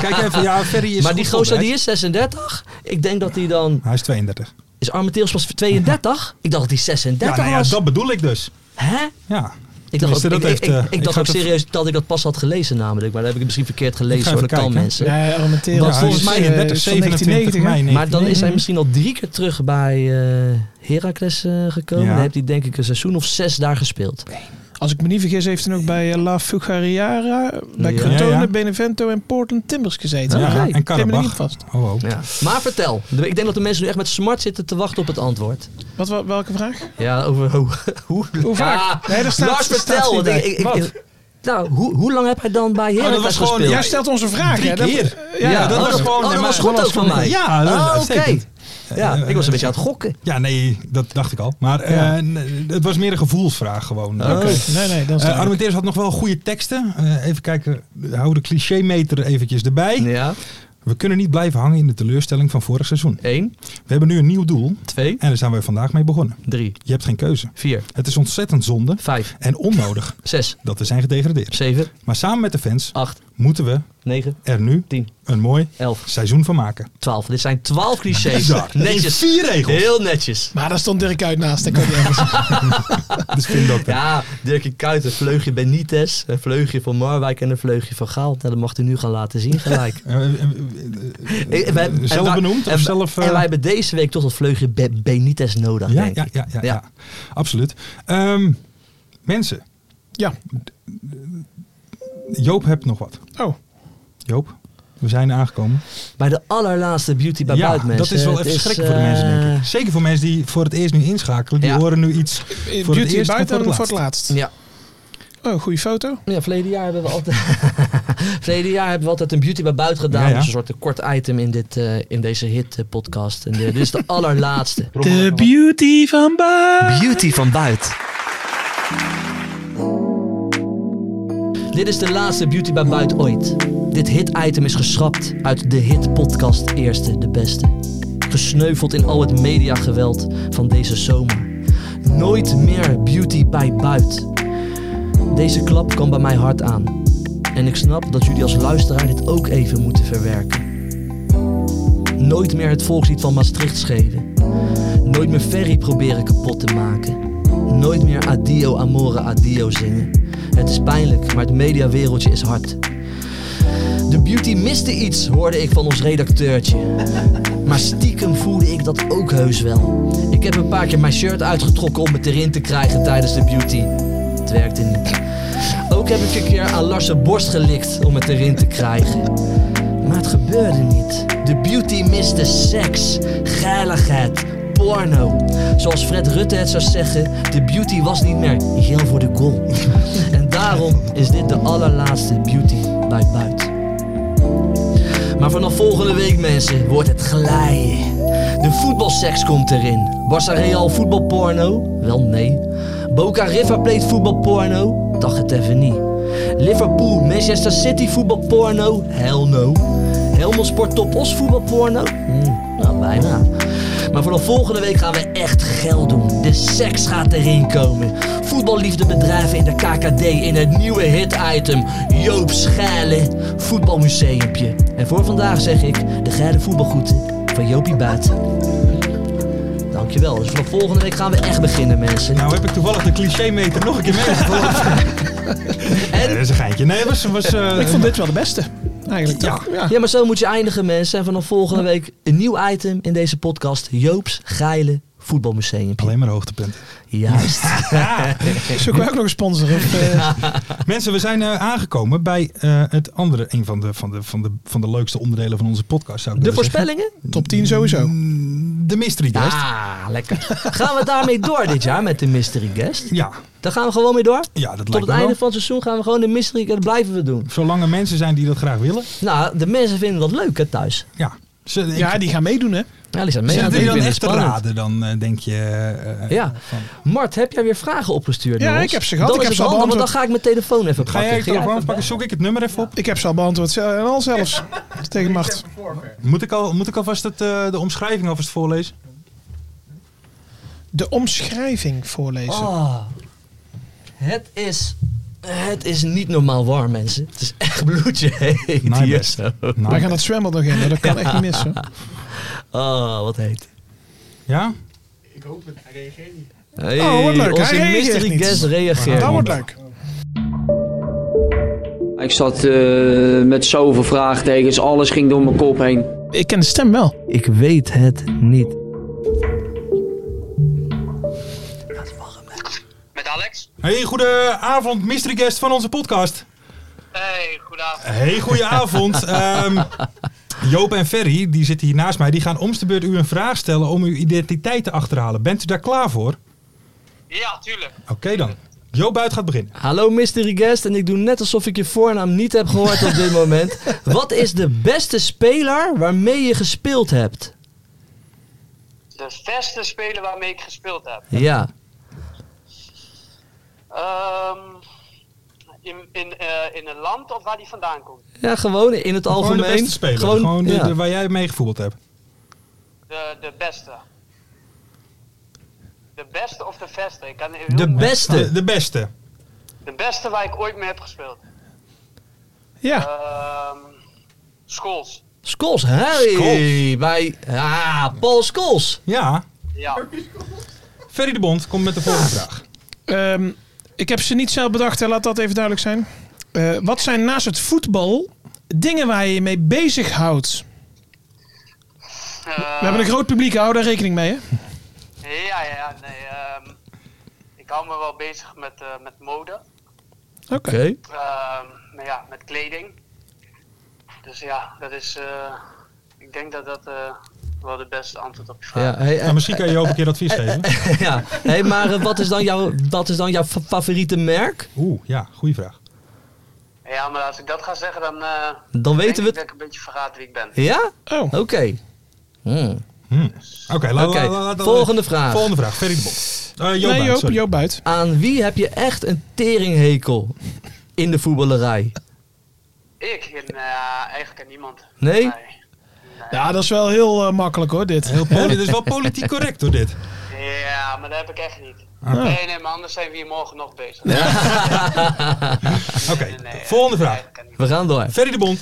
Kijk even, ja, Ferry is
Maar die
goed
gozer die
voorbereid.
is 36. Ik denk dat hij dan...
Hij is 32.
Is Armenteros pas 32? Ik dacht dat hij
Ja,
36
nou ja,
was.
dat bedoel ik dus.
Hè?
Ja.
Ik dacht, ook,
Tenminste,
ik,
dat heeft,
ik,
eh,
ik, ik dacht
ga
ook
even-
serieus dat ik dat pas had gelezen namelijk. Maar dat heb ik het misschien verkeerd
Ik ga
gelezen. Hoor.
even
Dat kan
kijken.
mensen.
Ja, Armenteros
Want
is,
volgens mij
eh,
31,
van
27
1990,
mei.
hè?
Maar dan is hij
1990.
misschien al drie keer terug bij eh Heracles eh, gekomen.
Ja.
Dan heeft hij denk ik een seizoen of zes daar gespeeld.
Als ik me niet vergis, heeft hij ook bij eh, La Fugariara, bij
Ja.
Crotone,
Ja, ja.
Benevento en Portland Timbers gezeten.
Ja,
Oké.
en
Ik heb me er niet
Karabach.
vast.
Oh, oh.
Ja. Maar vertel. Ik denk dat de mensen nu echt met smart zitten te wachten op het antwoord.
Wat, wa- welke vraag?
Ja, over hoe... (laughs) hoe,
Hoe vaak?
Ja.
Nee, daar staat-
Lars,
staat
vertel.
niet
want ik-
bij.
ik- ik-
Wat?
nou, hoe, hoe lang heb hij dan bij Heracles
was gewoon-
gespeeld?
Jij stelt onze vraag.
Drie
hè? Dat-
keer.
Ja,
Ja,
dat
oh,
was
dat-
gewoon...
oh, dat
nee,
was
maar-
goed ook van mij.
Ja, dat is
Oh, oké.
uitstekend.
Ja, ik was een beetje aan het gokken.
Ja, nee, dat dacht ik al. Maar eh,
Ja.
n- het was meer een gevoelsvraag gewoon.
Oh.
Oké, Nee, nee, dan
Eh,
staat
Armenteros had nog wel goede teksten. Eh, even kijken, hou de clichémeter eventjes erbij.
Ja,
We kunnen niet blijven hangen in de teleurstelling van vorig seizoen.
1,
We hebben nu een nieuw doel
2,
en daar zijn we vandaag mee begonnen.
3,
Je hebt geen keuze.
4,
Het is ontzettend zonde
5,
en onnodig
6,
dat we zijn gedegradeerd.
7,
Maar samen met de fans
8,
moeten we
9,
er nu
10,
een mooi
11,
seizoen van maken.
12. Dit zijn 12 clichés.
Bizar. In
Netjes.
vier regels.
Heel netjes.
Maar daar stond Dirk uit naast. Dat kan niet anders.
Dus
(laughs)
spindokter.
Ja, Dirkie Kuyt, een vleugje Benitez, een vleugje van Marwijk en een vleugje van Gaal. Nou, dat mag hij nu gaan laten zien gelijk.
Eh, eh, eh,
Eh,
(laughs) eh,
wij- en
zelf
wij-
benoemd
en,
of zelf... eh,
en wij hebben deze week toch dat vleugje Be- Benitez nodig,
ja,
denk
ja,
ik.
ja, ja,
Ja.
ja. absoluut. Ehm, mensen,
Ja.
Joop hebt nog wat.
Oh.
Joop, we zijn aangekomen.
Bij de allerlaatste beauty bij
ja,
Buitenmens.
dat is wel
Het
even schrikken voor de
eh,
mensen, denk ik. Zeker voor mensen die voor het eerst nu inschakelen. Die
Ja.
horen nu iets.
Voor
het
Beauty
eerst en
buiten
voor
en
het
voor het laatst.
Ja,
Oh, goede foto.
Ja, verleden jaar hebben we altijd, (laughs) verleden jaar hebben we altijd een beauty bij buiten gedaan.
Ja, ja.
Dus een soort een kort item in, dit, eh, in deze hit eh, podcast. En eh, dit is de (laughs) allerlaatste.
De beauty van Ba.
Beauty van buiten. Dit is de laatste beauty bij buiten ooit. Dit hit item is geschrapt uit de hit podcast Eerste de Beste. Gesneuveld in al het mediageweld van deze zomer. Nooit meer beauty bij buiten. Deze klap kwam bij mij hard aan. En ik snap dat jullie als luisteraar dit ook even moeten verwerken. Nooit meer het volkslied van Maastricht schelen. Nooit meer Ferry proberen kapot te maken. Nooit meer adio amore adio zingen. Het is pijnlijk, maar het mediawereldje is hard. De beauty miste iets, hoorde ik van ons redacteurtje. Maar stiekem voelde ik dat ook heus wel. Ik heb een paar keer mijn shirt uitgetrokken om het erin te krijgen tijdens de beauty. Het werkte niet. Ook heb ik een keer aan Lars' zijn borst gelikt om het erin te krijgen. Maar het gebeurde niet. De beauty miste seks, geiligheid, porno. Zoals Fred Rutte het zou zeggen, de beauty was niet meer heel voor de goal. (laughs) en daarom is dit de allerlaatste beauty bij buiten. Maar vanaf volgende week, mensen, wordt het glijden. De voetbalseks komt erin. Barça Real voetbalporno? Wel nee. Boca River Plate voetbalporno? Dacht het even niet. Liverpool Manchester City voetbalporno? Hell no. Helmond Sport Top Os voetbalporno? Hm, nou, bijna. Maar vanaf volgende week gaan we echt geld doen. De seks gaat erin komen. Voetballiefdebedrijven in de KKD in het nieuwe hit-item Joop Schijlen voetbalmuseumpje. En voor vandaag zeg ik de geile voetbalgroeten van Joopie Buiten. Dankjewel. Dus vanaf volgende week gaan we echt beginnen, mensen.
Nou heb ik toevallig de clichémeter nog een keer (laughs) meegevlogen.
En-
dat is een geintje. Nee, was... was eh,
Ik vond dit wel de beste. Eigenlijk
Ja.
toch? Ja.
Ja, maar zo moet je eindigen, mensen. En vanaf volgende week een nieuw item in deze podcast. Joops geile voetbalmuseum.
Alleen maar hoogtepunten.
Juist.
Zoeken we ook nog een sponsor? Of, eh,
Mensen, we zijn eh, aangekomen bij eh, het andere, een van de, van, de, van, de, van de leukste onderdelen van onze podcast. Zou ik
De
willen zeggen.
voorspellingen?
top 10 sowieso.
Mm, De mystery guest. Ja.
Ah, lekker. Gaan we daarmee door dit jaar met de mystery guest?
Ja,
Daar gaan we gewoon mee door.
dat
Tot
lijkt
het
me wel.
einde van het seizoen gaan we gewoon de mystery guest blijven we doen.
Zolang er mensen zijn die dat graag willen.
Nou, de mensen vinden dat leuk hè, thuis.
Ja. Ze, ik,
Ja, die gaan meedoen, hè?
Ja, die zijn mee.
zitten
aan het
die dan
vinden
echt te
spannend.
raden, dan eh, denk je... eh,
Ja.
van-
Mart, heb jij weer vragen opgestuurd?
Ja,
naar ons?
ik heb ze gehad.
Dat
Ik
is
heb ze
het
al
handig, want dan
beantwoord.
ga ik mijn telefoon even
Ga
pakken.
jij het
Ga jij
telefoon
even-
pakken? Zoek ik het nummer even op.
Ik heb ze al beantwoord. ze- En al zelfs. Tegen macht.
Moet ik, al, moet ik alvast het, eh, de omschrijving alvast voorlezen?
De omschrijving voorlezen.
Ah. Het is... Het is niet normaal warm, mensen. Het is echt (laughs) bloedje heet
Nou,
hier
best.
zo.
Nou,
Wij gaan dat zwembad nog in, hè. dat kan echt niet missen.
Ah, wat heet.
Ja?
Hey,
Oh, wat leuk.
Onze
Hij reageert
mystery
niet.
guest reageert.
Dat wordt leuk.
Ik zat eh, met zoveel vraagtekens, alles ging door mijn kop heen.
Ik ken de stem wel.
Ik weet het niet. Dat is warm, hè?
Met Alex.
Hey, goede avond, mystery guest van onze podcast.
Hey, goedenavond.
Hey, goede avond. Ehm, Joop en Ferry, die zitten hier naast mij, die gaan om de beurt u een vraag stellen om uw identiteit te achterhalen. Bent u daar klaar voor?
Ja, tuurlijk.
Oké dan. Joop Buit gaat beginnen.
Hallo mystery guest en ik doe net alsof ik je voornaam niet heb gehoord op dit moment. (laughs) Wat is de beste speler waarmee je gespeeld hebt?
De beste speler waarmee ik gespeeld heb.
Ja.
Ehm, in, in, eh, in een land of waar die vandaan komt.
Ja, gewoon in het
Gewoon
algemeen.
de beste speler. Gewoon, de-
ja.
de- waar jij mee gevoetbald hebt.
De, de beste. De beste of de beste? Ik kan heel
De
moeilijk-
beste.
De, de beste.
de beste waar ik ooit mee heb gespeeld.
Ja,
Ehm Scholes.
Scholes, hey,
Scholes.
bij ah, Paul Scholes.
Ja.
Ja.
Ferry de Bond komt met de volgende vraag.
ehm, ik heb ze niet zelf bedacht, hè. laat dat even duidelijk zijn. Eh, wat zijn naast het voetbal dingen waar je je mee bezighoudt? We hebben een groot publiek, hou daar rekening mee. Hè?
Eh, Ja, ja, nee. ehm, ik hou me wel bezig met, eh, met mode.
Oké.
Ehm, maar ja, met kleding. Dus ja, dat is. eh, ik denk dat dat eh, wel de beste antwoord op je vraag
Ja, hey, (laughs)
Nou, misschien kan je Joop een keer advies geven.
eh, ja. Hey, maar eh, wat, is dan jouw, wat is dan jouw fa- favoriete merk?
Oeh, ja. Goeie vraag.
is. Ja, maar als ik dat ga zeggen, dan. eh,
Dan
denk
weten we het.
ik dat ik een beetje verraad wie ik ben.
Ja?
Oh,
Oké. Hmm.
Oké, laat-
Oké,
laat- laat- laat-
volgende vraag.
Volgende vraag. Ferry de Bond. Eh, Joop
nee,
Buit,
Joop,
sorry.
Joop buit.
Aan wie heb je echt een teringhekel in de voetballerij?
Ik? Nou, eigenlijk aan niemand.
Nee?
Ja, dat is wel heel eh, makkelijk hoor, dit.
Heel poli- Oh, dit is wel politiek correct door dit.
Ja, maar dat heb ik echt niet. Nee, nee, maar anders zijn we hier morgen nog bezig. (laughs)
(laughs) Oké, volgende vraag.
Eigenlijk aan niemand.
We gaan door.
Ferry de Bond.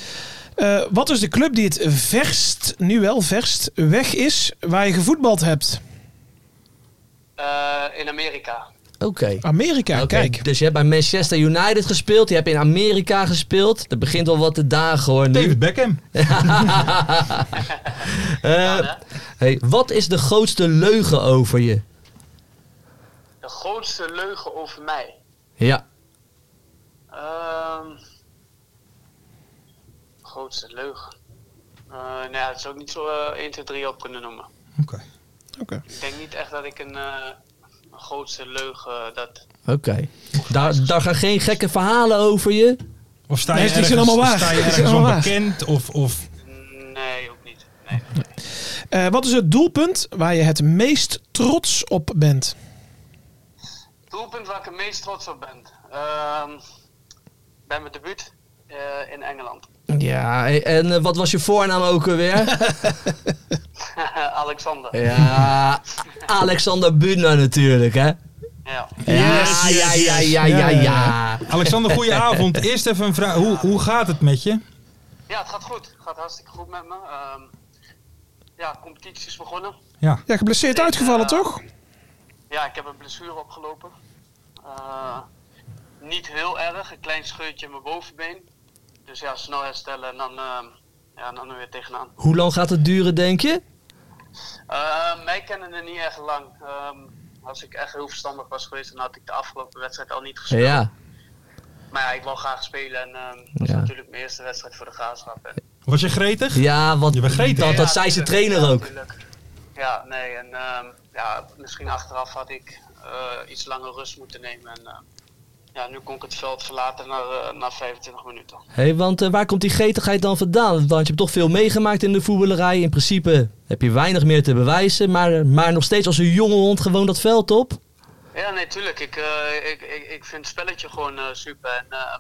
Eh, wat is de club die het verst, nu wel verst, weg is waar je gevoetbald hebt?
Eh, in Amerika.
Oké.
Amerika,
Oké,
kijk.
Dus je hebt bij Manchester United gespeeld, je hebt in Amerika gespeeld. Dat begint al wat te dagen hoor nu.
David Beckham.
Eh, hey, wat is de grootste leugen over je?
De grootste leugen over mij.
Ja.
Ehm grootste leugen. Eh nou ja, het zou ik niet zo eh, 1, 2, 3 op kunnen noemen.
Oké.
Oké.
Ik denk niet echt dat ik een eh, een grootste leugen dat.
Oké. Daar, daar gaan geen gekke verhalen over je?
Of sta je
Nee, die zijn
ergens,
allemaal waar.
Sta je
(laughs) Die zijn
ergens
allemaal waar.
onbekend of, of
Nee, ook niet. Nee.
Eh, wat is het doelpunt waar je het meest trots op bent?
Doelpunt waar ik het meest trots op ben. Ehm bij mijn debuut eh, in Engeland. (laughs)
Ja, hey, en eh, wat was je voornaam ook (laughs) alweer?
Alexander.
Eh. ja, Alexander Buna natuurlijk, hè?
Ja.
ja, ja, ja, ja, ja,
Ja, ja,
ja.
Alexander,
(laughs)
goedenavond. Eerst even een vraag. Hoe, hoe gaat het met je?
ja, het gaat goed. Het gaat hartstikke goed met me. Ehm ja, competitie is begonnen.
Ja.
Ja, geblesseerd uitgevallen toch?
Ja, ik heb een blessure opgelopen. Eh, niet heel erg, een klein scheurtje in mijn bovenbeen. Dus ja, snel herstellen en dan, ehm, ja, dan weer tegenaan.
Hoe lang gaat het duren, denk je?
Eh, mij kennen er niet echt lang. Ehm, als ik echt heel verstandig was geweest, dan had ik de afgelopen wedstrijd al niet gespeeld.
Ja.
Maar ja, ik wil graag spelen en ehm, dat is
Ja.
natuurlijk mijn eerste wedstrijd voor de graafschap. En-
Was je gretig?
Ja, want
Je bent gretig.
dat,
Ja,
dat zei zijn
tuurlijk.
trainer
Ja,
ook.
tuurlijk. Ja, nee, en ehm, ja, misschien achteraf had ik eh, iets langer rust moeten nemen. En, ehm, ja, nu kon ik het veld verlaten na, eh, na 25 minuten.
Hey, want eh, waar komt die gretigheid dan vandaan? Want je hebt toch veel meegemaakt in de voetballerij. In principe heb je weinig meer te bewijzen. Maar, maar nog steeds als een jonge hond gewoon dat veld op.
Ja, nee, tuurlijk. Ik, eh, ik, ik, ik vind het spelletje gewoon eh, super. En eh,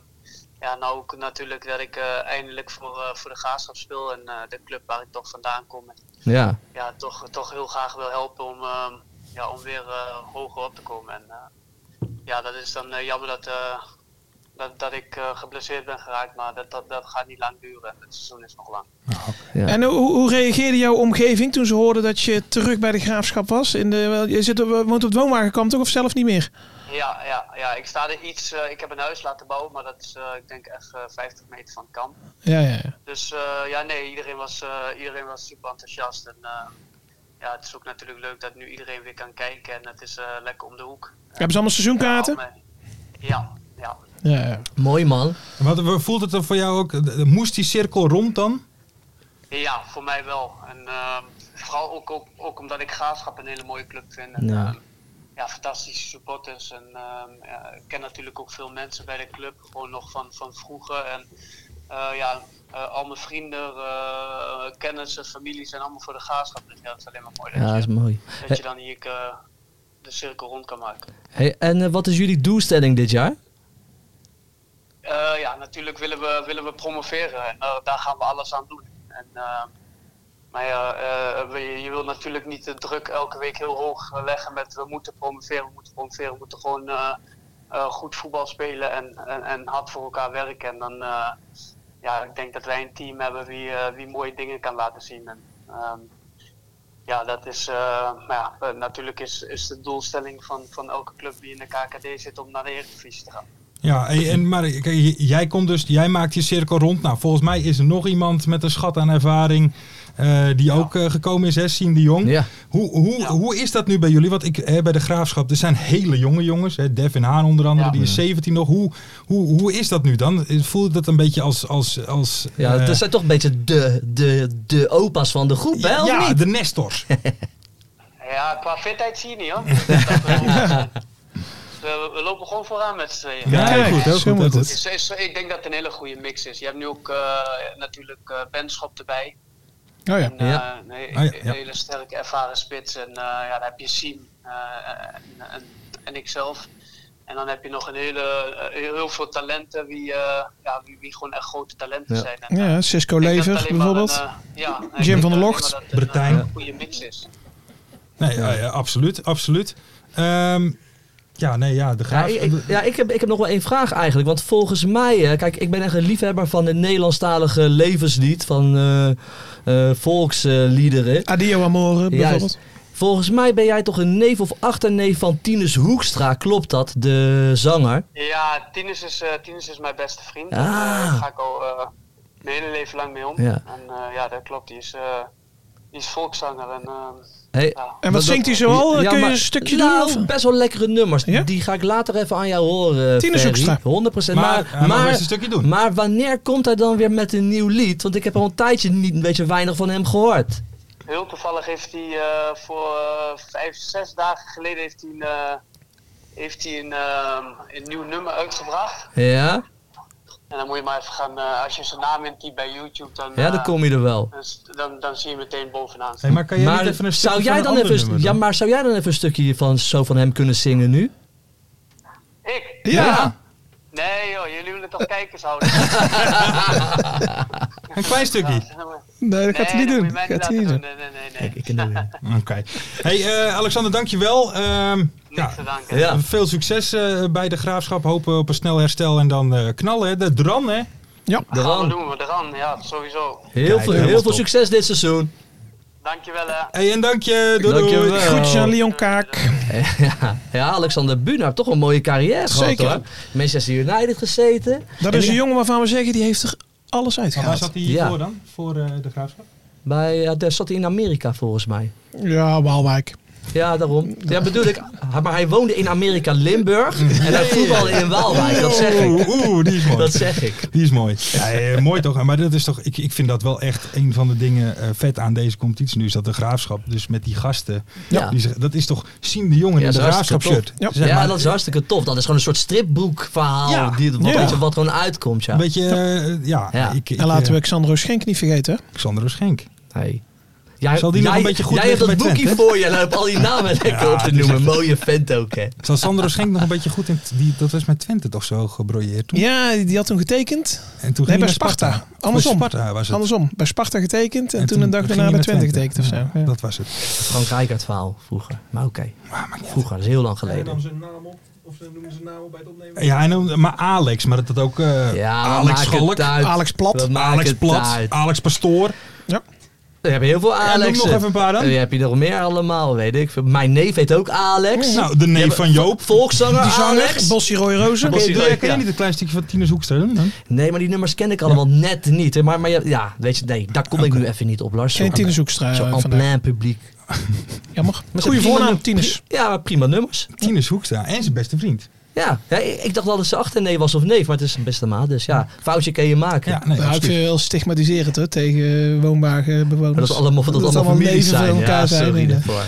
ja, nou ook natuurlijk dat ik eh, eindelijk voor, eh, voor de graafschap speel en eh, de club waar ik toch vandaan kom. En,
Ja.
ja, toch, toch heel graag wil helpen om, ehm, ja, om weer eh, hoger op te komen. En eh, ja, dat is dan eh, jammer dat, eh, dat, dat ik eh, geblesseerd ben geraakt, maar dat, dat, dat gaat niet lang duren. Het seizoen is nog lang.
Ja.
En hoe, hoe reageerde jouw omgeving toen ze hoorden dat je terug bij de graafschap was? In de, je zit op, eh, woont op het woonwagenkamp toch of zelf niet meer?
Ja, ja, ja ik sta er iets. eh, ik heb een huis laten bouwen, maar dat is, eh, ik denk, echt eh, 50 meter van het kamp.
Ja, ja, ja.
Dus eh, ja, nee, iedereen was, eh, iedereen was super enthousiast. En eh, ja, het is ook natuurlijk leuk dat nu iedereen weer kan kijken en het is eh, lekker om de hoek.
Hebben ze allemaal seizoenkaarten?
Ja, allemaal- ja, ja.
Ja, ja.
Mooi man.
En Wat voelt het dan voor jou ook? eh, Moest die cirkel rond dan?
Ja, voor mij wel. En ehm, vooral ook, ook, ook omdat ik Graafschap een hele mooie club vind. En,
Ja.
ehm, ja, fantastische supporters. En ehm, ja, ik ken natuurlijk ook veel mensen bij de club, gewoon nog van, van vroeger. En eh, ja, eh, al mijn vrienden, eh, kennissen, familie zijn allemaal voor de Graafschap. Dus ja, dat is alleen maar mooi dat,
Ja, dat is
je,
mooi.
dat je dan hier eh, de cirkel rond kan maken.
Hey, en eh, wat is jullie doelstelling dit jaar?
Eh, ja, natuurlijk willen we, willen we promoveren en eh, daar gaan we alles aan doen. En, eh, maar ja, eh, we- je wilt natuurlijk niet de druk elke week heel hoog eh, leggen met we moeten promoveren, we moeten promoveren, we moeten gewoon eh, eh, goed voetbal spelen en, en, en hard voor elkaar werken. En dan, eh, ja, ik denk dat wij een team hebben wie, eh, wie mooie dingen kan laten zien. En, ehm, ja, dat is, eh, maar ja, eh, natuurlijk is, is de doelstelling van, van elke club die in de KKD zit om naar de Eredivisie te gaan.
Ja, hey, en, maar kijk, j- jij, komt dus, jij maakt die cirkel rond. Nou, volgens mij is er nog iemand met een schat aan ervaring eh, die ook eh, gekomen is, hè, Siem de Jong.
Ja.
Hoe, hoe, hoe is dat nu bij jullie? Want ik, hè, bij de Graafschap, er zijn hele jonge jongens. Hè, Devin Haan onder andere,
Ja.
die is 17 nog. Hoe, hoe, hoe is dat nu dan? Voelt dat een beetje als... als, als
Ja,
eh,
dat zijn toch een beetje de, de, de opa's van de groep, hè? of
ja,
niet?
de Nestors.
Ja, qua fitheid zie je niet
(laughs)
hoor. Dat wel. we, we lopen gewoon vooraan met z'n tweeën.
Ja, heel goed, heel
zo
goed,
moet
heel goed.
het.
Is- is- ik denk dat het een hele goede mix is. Je hebt nu ook eh, natuurlijk eh Benschop erbij.
Oh ja.
En, eh,
Ja.
Een, he-
Ah, ja, ja.
een hele sterke ervaren spits. En eh, ja, dan heb je Siem eh, en, en, en ikzelf. En dan heb je nog een hele, eh, heel, heel veel talenten die, eh, ja, die, die gewoon echt grote talenten
Ja.
zijn. En, eh,
Ja, Cisco
ik denk dat
Lever
alleen maar een,
bijvoorbeeld.
eh, ja, ik
Jim van
denk
der
alleen
Locht,
maar dat het een, eh,
Bertijn.
goede mix is.
Nee, ja, ja, absoluut, absoluut. Ehm, ja, nee, ja, de
Ja,
Graaf...
ik, ik- ja ik, heb, ik heb nog wel één vraag eigenlijk. Want volgens mij, eh, kijk, ik ben echt een liefhebber van het Nederlandstalige levenslied, van eh, eh, volksliederen.
eh,
Adio Amore bijvoorbeeld.
Juist. Volgens mij ben jij toch een neef of achterneef van Tinus Hoekstra, klopt dat? De zanger.
Ja, Tinus is, eh, Tinus is mijn beste vriend.
Ah.
En, eh, daar ga ik al eh, mijn hele leven lang mee om.
Ja.
En eh, ja, dat klopt. Die is, eh, die is volkszanger. En, eh,
Hey,
ja.
En wat
dat-
zingt hij zoal?
Ja,
Kun je
maar-
een stukje
nou,
doen? Of?
best wel lekkere nummers.
Ja?
Die ga ik later even aan jou horen. eh,
Tinus
Ferry.
Hoekstra.
100%.
maar,
Maar,
hij mag
maar,
best een stukje doen.
maar wanneer komt hij dan weer met een nieuw lied? Want ik heb al een tijdje niet een beetje weinig van hem gehoord.
heel toevallig heeft hij eh, voor eh, vijf, zes dagen geleden heeft hij een, eh, heeft hij een, ehm, een nieuw nummer uitgebracht.
Ja,
En dan moet je maar even gaan, eh, als je zijn naam intypt bij YouTube, dan,
ja dan
eh,
kom je er wel.
dan, dan, dan zie je meteen bovenaan.
Hey, maar kan jij
Maar
niet even een stukje
zou
van
jij
een
dan
ander
even,
nummer
ja,
doen?
maar zou jij dan even een stukje van, zo van hem kunnen zingen nu?
Ik?
Ja.
Nee joh, jullie willen toch kijkers
(laughs)
houden?
Een klein stukje.
Nee, dat
Nee,
gaat hij niet
dat moet
doen.
je mij
Gaat hij
laten
niet doen.
Nee, nee, nee. nee.
Ik ken hem niet.
Oké. Hey, eh, Alexander, dankjewel. Ehm
Niks
ja,
te danken.
Ja.
Veel succes eh, bij de graafschap. Hopen op een snel herstel en dan eh, knallen. Hè. De dran, hè?
De
Gaan we
Ram,
doen, we eraan. Ja, sowieso.
heel veel,
helemaal
heel veel
top.
succes dit seizoen.
Dankjewel hè.
Hey, en dank je. Doei, doei.
Dankjewel.
Groetjes aan Leon Kaak.
Ja, ja Alexander Buna heeft toch een mooie carrière
Zeker.
gehad hoor. Manchester United gezeten.
Dat is een jongen waarvan we zeggen, die heeft er alles
Maar Waar
uitgehaald.
zat hij
Ja.
voor dan? Voor eh, de graafschap?
Bij, ja, daar zat hij in Amerika volgens mij.
Ja, Waalwijk.
Ja, daarom. Ja, bedoel ik. Maar hij woonde in Amerika, Limburg. En hij voetbalde in Waalwijk, dat zeg ik.
Oeh, oeh, die is mooi.
Dat zeg ik.
Die is mooi. Ja, eh, mooi toch? Maar dat is toch, ik, ik vind dat wel echt een van de dingen eh, vet aan deze competitie nu. Is dat de graafschap, dus met die gasten.
Ja.
Die, ze- dat is toch Siem de Jongen
Ja,
in
dat
de
is hartstikke
graafschap shirt.
tof. Ja, dat is hartstikke tof. Dat is gewoon een soort stripboekverhaal.
Ja.
Die, wat,
Ja.
weet je, wat gewoon uitkomt, ja.
Een beetje, eh, ja.
Ja.
Ik, ik,
En laten
eh,
we Xandro Schenk niet vergeten. hè?
Xander Schenk.
Nee. Jij,
Zal die nog een beetje goed
Jij hebt
liggen
dat
bij
boekje
Twente,
voor je en dan heb al die namen lekker
(laughs) Ja, dus-
op te
het is
noemen.
echt-
Mooie vent ook, hè.
Zal Sandro Schenk nog een beetje goed in... Die, dat was met Twente toch zo gebrojeerd toen?
Ja, die had toen getekend.
En toen
Nee,
ging
bij
hij naar
Sparta.
Of
Andersom.
bij Sparta was het.
Andersom, bij Sparta getekend en, toen, een dag
ging
daarna
hij
bij
naar
Twente getekend of zo.
Ja,
Ja.
Dat was het.
Frank Rijkaard verhaal vroeger. Maar oké. Vroeger, dat is heel lang geleden.
zijn naam op, of ze noemen zijn naam op bij het opnemen.
Ja, en, dan- maar Alex, maar dat dat ook... eh,
Ja, we
Alex
maken
Schalk,
het uit.
Alex Plat.
We maken
Alex
het
Plat,
uit.
Alex Pastoor.
We hebben heel veel
noem
Alex.
nog even een paar dan.
Je hebt hier nog meer allemaal, weet ik. veel. Mijn neef heet ook Alex.
Nou, de neef van Joop.
Volkszanger
Die zanger,
Alex.
Bossie Roy Rozen.
Bossie
Doe
Roy.
jij- Ken je niet een klein stukje van Tinus Hoekstra doen dan?
Nee, maar die nummers ken ik allemaal net niet. hè. Maar, maar ja, ja, weet je, nee, daar kom ik nu even niet op, Lars.
Geen
Zo-
Tinus Hoekstra
Zo
eh,
en
vandaag.
plein publiek.
Jammer.
Maar
Goeie
ze prima
voornaam,
num-
Tinus.
pri- Ja, maar prima nummers.
Tinus Hoekstra en zijn beste vriend.
Ja, ja, ik ik dacht wel dat ze achterneef was of neef, maar het is een beste maat. Dus ja, foutje kan je maken.
Ja, nee,
Nou, ik
absoluut.
vind het heel stigmatiserend hoor, tegen eh, woonwagenbewoners.
Maar dat is allemaal, dat allemaal families
neven van
zijn.
elkaar
ja,
zijn.
sorry
inderdaad.
daarvoor.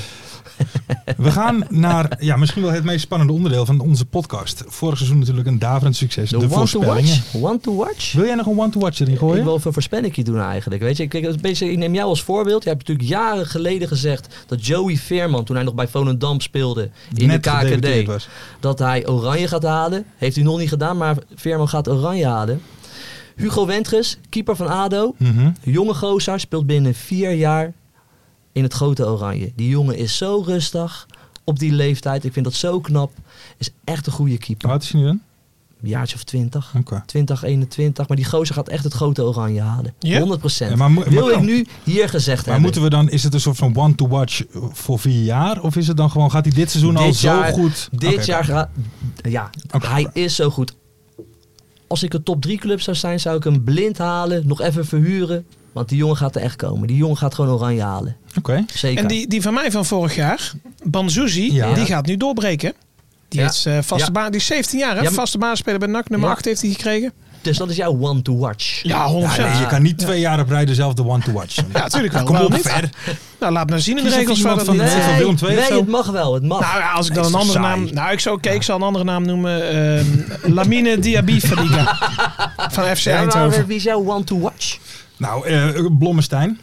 We gaan naar ja, misschien wel het meest spannende onderdeel van onze podcast. Vorig seizoen natuurlijk een daverend succes.
De
De,
one to
voorspellingen.
watch. One to watch.
Wil jij nog een one-to-watch erin
Ik
gooien?
wil even voorspelling doen eigenlijk. Weet je, kijk, dat is een beetje- ik neem jou als voorbeeld. Je hebt natuurlijk jaren geleden gezegd dat Joey Veerman, toen hij nog bij Volendam speelde in
Net
de
gedebuteerd
KKD,
was.
dat hij Oranje gaat halen. Heeft hij nog niet gedaan, maar Veerman gaat Oranje halen. Hugo Wentges, keeper van ADO,
Mhm.
jonge gozer, speelt binnen vier jaar in het grote Oranje. Die jongen is zo rustig op die leeftijd. Ik vind dat zo knap. Is echt een goede keeper.
Hoe oud is hij nu dan?
Een jaartje of twintig.
Oké.
2021. Maar die gozer gaat echt het grote oranje halen.
Ja?
100%.
Ja, maar mo-
Wil
maar
ik
kan.
nu hier gezegd
Maar
hebben.
moeten we dan, is het een soort van one-to-watch voor vier jaar? Of is het dan gewoon, gaat hij dit seizoen al
Dit jaar-
zo goed?
Dit
Oké,
jaar gaat... Ja,
Oké.
hij is zo goed. Als ik een top 3 club zou zijn, zou ik hem blind halen. Nog even verhuren. Want die jongen gaat er echt komen. Die jongen gaat gewoon oranje halen.
Oké.
Zeker.
En die, die van mij van vorig jaar, Banzuzi,
Ja.
die gaat nu doorbreken. Die,
Ja.
is, eh, vaste
Ja.
baan, die is 17 jaar, hè?
Ja, maar-
vaste baanspeler bij NAC, nummer
Ja.
8 heeft hij gekregen.
Dus dat is jouw one to watch.
Ja, 100%.
Ja, nee, je kan niet twee jaar op rij dezelfde
(laughs)
one-to-watch.
Ja, natuurlijk wel.
Kom
Waarom
op,
niet?
ver.
Nou, laat maar zien in de
Kies of
regels waar
iemand
dat
van
niet...
de-
Nee.
van Willem II of
nee
zo?
het mag wel. Het mag.
Nou ja, als ik dan
Nee,
een
is
andere
toch
naam...
saai?
Nou, ik zou, oké, ik zal een andere naam noemen. ehm, Lamine Diaby Fadiga. van FC
ja, maar,
Eindhoven.
wie is jouw one to watch?
Nou, eh Blommestein.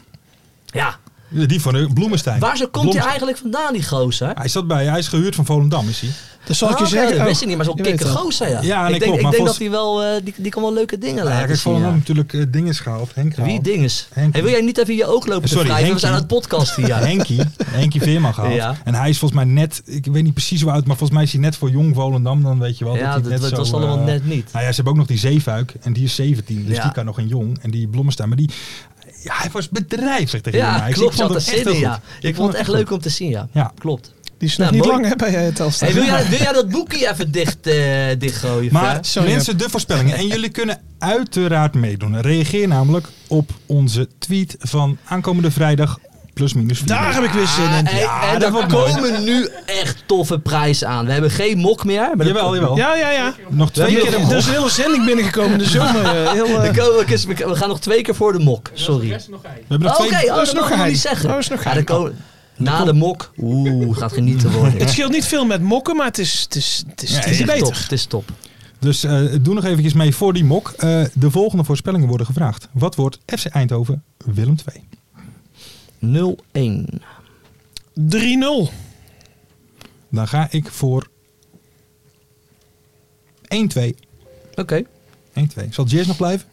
Ja.
Die van eh, Bloemestein.
Waar zo komt hij
Blommestein.
eigenlijk vandaan, die gozer?
Hij zat bij, hij is gehuurd van Volendam, is hij?
Dat zal ik je
Ah, oké,
zeggen.
Dat wist
Oh,
ik niet, maar zo'n
je weet
kikke
het al.
gozer, ja.
Ja, nee,
ik denk,
klopt,
ik
maar
denk dat
volgens-
hij wel, eh, die, die kan wel leuke dingen
Ja,
laten
kijk,
zien,
Volendam
ja.
natuurlijk eh, dinges gehaald. Oh. Henk gehaald.
Wie dinges?
Henkie.
Hey, wil jij niet even je oog lopen
Sorry,
te wrijven? We
Henkie.
zijn aan het podcast hier. ja.
(laughs)
(laughs)
Henkie, Henkie Veerman gehaald.
Ja.
En hij is volgens mij net, ik weet niet precies hoe oud, maar volgens mij is hij net voor jong Volendam. Dan weet je wel dat
Ja,
hij
dat,
net
dat
zo...
was allemaal
eh,
net niet.
Nou ja, ze hebben ook nog die Zeefuik en die is 17, dus
Ja.
die kan nog een jong. En die Blommestein, maar die... Ja, hij was bedrijvig tegen die
Ja,
meisjes.
klopt.
Ik vond
Zat er
het echt
zin
heel
in, ja.
goed.
Ik vond het echt leuk om te zien, ja.
Ja.
Klopt.
Die is nog
Nou,
niet
mooi.
lang hè, bij eh, Telstra.
Hey, wil, jij, wil jij dat boekje even dicht, eh, dichtgooien?
Maar
Fer?
Sorry,
mensen, de voorspellingen. En jullie kunnen uiteraard meedoen. Reageer namelijk op onze tweet van aankomende vrijdag plus minus vier.
Daar heb ik weer zin
Ah,
in.
hey,
Ja,
en
dat
er
wordt mooi.
komen nu echt toffe prijzen aan. We hebben geen mok meer. Maar er
Jawel, jawel.
Ja, ja, ja.
Nog twee keer een
Er is een hele zending binnengekomen. Dus jongen, eh, heel... eh,
komen- er komen- kies- we gaan nog twee keer voor de mok. Sorry.
We hebben nog
Oké,
twee.
oh, dat mag
dat is nog
ik nog
geheim.
niet zeggen.
Dat is
Ja,
nog
er
geheim. Oh.
komen- na de mok, oeh, gaat genieten worden.
(laughs) Het scheelt niet veel met mokken, maar het is, het is, het is, het is
echt top,
beter.
het is top.
Dus eh, doe nog eventjes mee voor die mok. Eh, de volgende voorspellingen worden gevraagd. Wat wordt FC Eindhoven Willem 2?
0-1.
3-0.
Dan ga ik voor 1-2. 1-2.
Oké.
Zal Jazz nog blijven?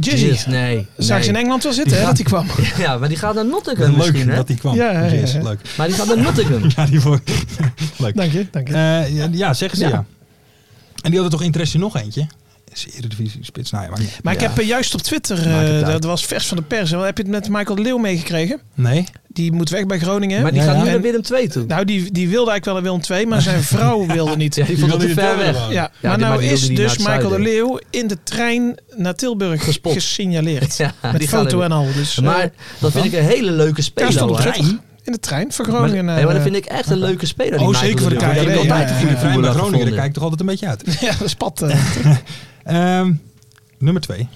Jizzy.
Yes, nee.
Zag je
nee.
in Engeland wel zitten, hè, dat hij kwam.
(laughs) Ja, maar die gaat naar Nottingham
Leuk
misschien, hè?
dat hij kwam.
Ja, ja, ja,
Jazz,
ja.
leuk. (laughs)
Maar die gaat naar Nottingham.
Ja, die voor... (laughs) leuk.
Dank je, dank je.
Eh, ja, ja, zeggen ze ja. En die hadden toch interesse in nog eentje? Is de Eredivisie spits? Nou ja, maar niet.
Maar ik
Ja.
heb eh, juist op Twitter,
Maakt het
eh,
uit.
dat was vers van de pers. Wel, Heb je het met Michael de Leeuw meegekregen?
Nee? Oh,
Die moet weg bij Groningen.
Maar die gaat nu
En-
naar Willem 2 toe.
Nou, die, die wilde eigenlijk wel naar Willem 2, maar zijn
(laughs)
vrouw wilde niet.
Ja, die vond het te ver weg.
Ja,
Ja, die-
maar nou
die wilde
is
niet
dus
naar het
Michael de
zuiden.
Leeuw in de trein naar Tilburg
Gespot. (laughs)
gesignaleerd.
Ja,
met
die
foto
gaan
en
er-
al. Dus, eh,
Maar dat vind ik een hele leuke
daar
speler.
stond op
hoor.
Twitter. In de trein van
Maar,
Groningen. eh,
nee, maar dat vind ik echt een leuke speler. die
Oh,
Michael
zeker voor
Leeuw.
de
Die
KNVB.
heb ik altijd een goede
Ja, ja,
voetballer
bij Groningen, daar
gevonden.
kijk ik toch altijd een beetje uit.
(laughs) Ja, dat is
(laughs)
pad. eh.
Ehm, nummer twee.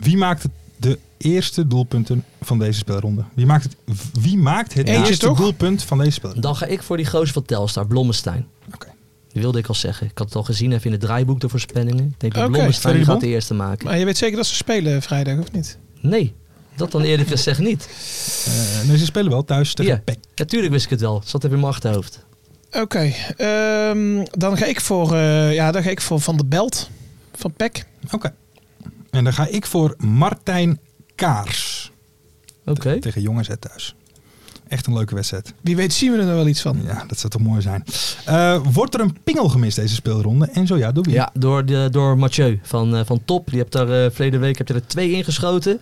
Wie maakt de eerste doelpunten van deze speelronde? Wie maakt het, wie maakt het
Eentje
eerste
toch?
doelpunt van deze speelronde?
Dan ga ik voor die goos van Telstar, Blommestein.
Oké.
Die wilde ik al zeggen. Ik had het al gezien even in het draaiboek, de voorspellingen. Ik denk dat
Oké,
Blommestein
Ferry
gaat
Bom?
de eerste maken.
Maar je weet zeker dat ze spelen vrijdag, of niet?
Nee, dat dan eerlijk gezegd (laughs) niet.
Eh, nee, ze spelen wel thuis tegen E
Ja.
PEC.
Natuurlijk wist ik het wel. Zat even in mijn achterhoofd.
Oké, ehm, dan, ga ik voor, eh, ja, dan ga ik voor Van de Belt van E Peck.
Oké. En dan ga ik voor Martijn Kaars
Oké.
tegen Jong AZ thuis. Echt een leuke wedstrijd.
Wie weet zien we er nou wel iets van.
Ja, dat zou toch mooi zijn. Eh, wordt er een pingel gemist deze speelronde? En zo ja, door wie?
Ja, door, de, door Mathieu van, eh, van Top. Die hebt daar eh verleden week heb je er twee ingeschoten.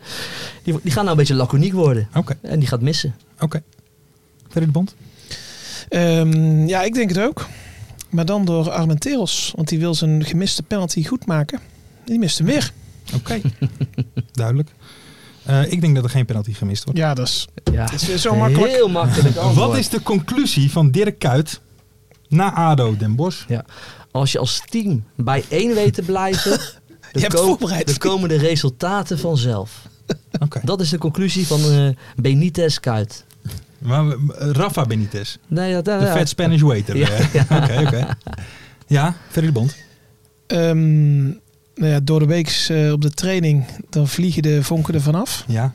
Die, die gaan nou een beetje laconiek worden.
Oké,
En die gaat missen.
oké. Verder de bond?
Ehm, ja, ik denk het ook. Maar dan door Armenteros, want die wil zijn gemiste penalty goed maken. Die mist hem weer.
Oké.
(laughs)
Duidelijk. Eh, ik denk dat er geen penalty gemist wordt.
Ja, dat is,
Ja.
dat is zo makkelijk.
Heel
(laughs)
makkelijk antwoord.
Wat is de conclusie van Dirk Kuyt na ADO Den
(laughs)
Bosch?
Ja. Als je als team bij één weet te
(laughs)
blijven... de
hebt
ko-
voorbereid.
De komende resultaten vanzelf.
Oké.
Dat is de conclusie van eh Benitez Kuit.
Maar we- Rafa Benitez,
Nee, dat,
de fat Spanish
(laughs)
waiter.
Ja.
eh. Oké, oké. Ja, Ferry de Bond.
Ehm, nou ja, door de week eh, op de training, dan vliegen de vonken er vanaf.
Ja,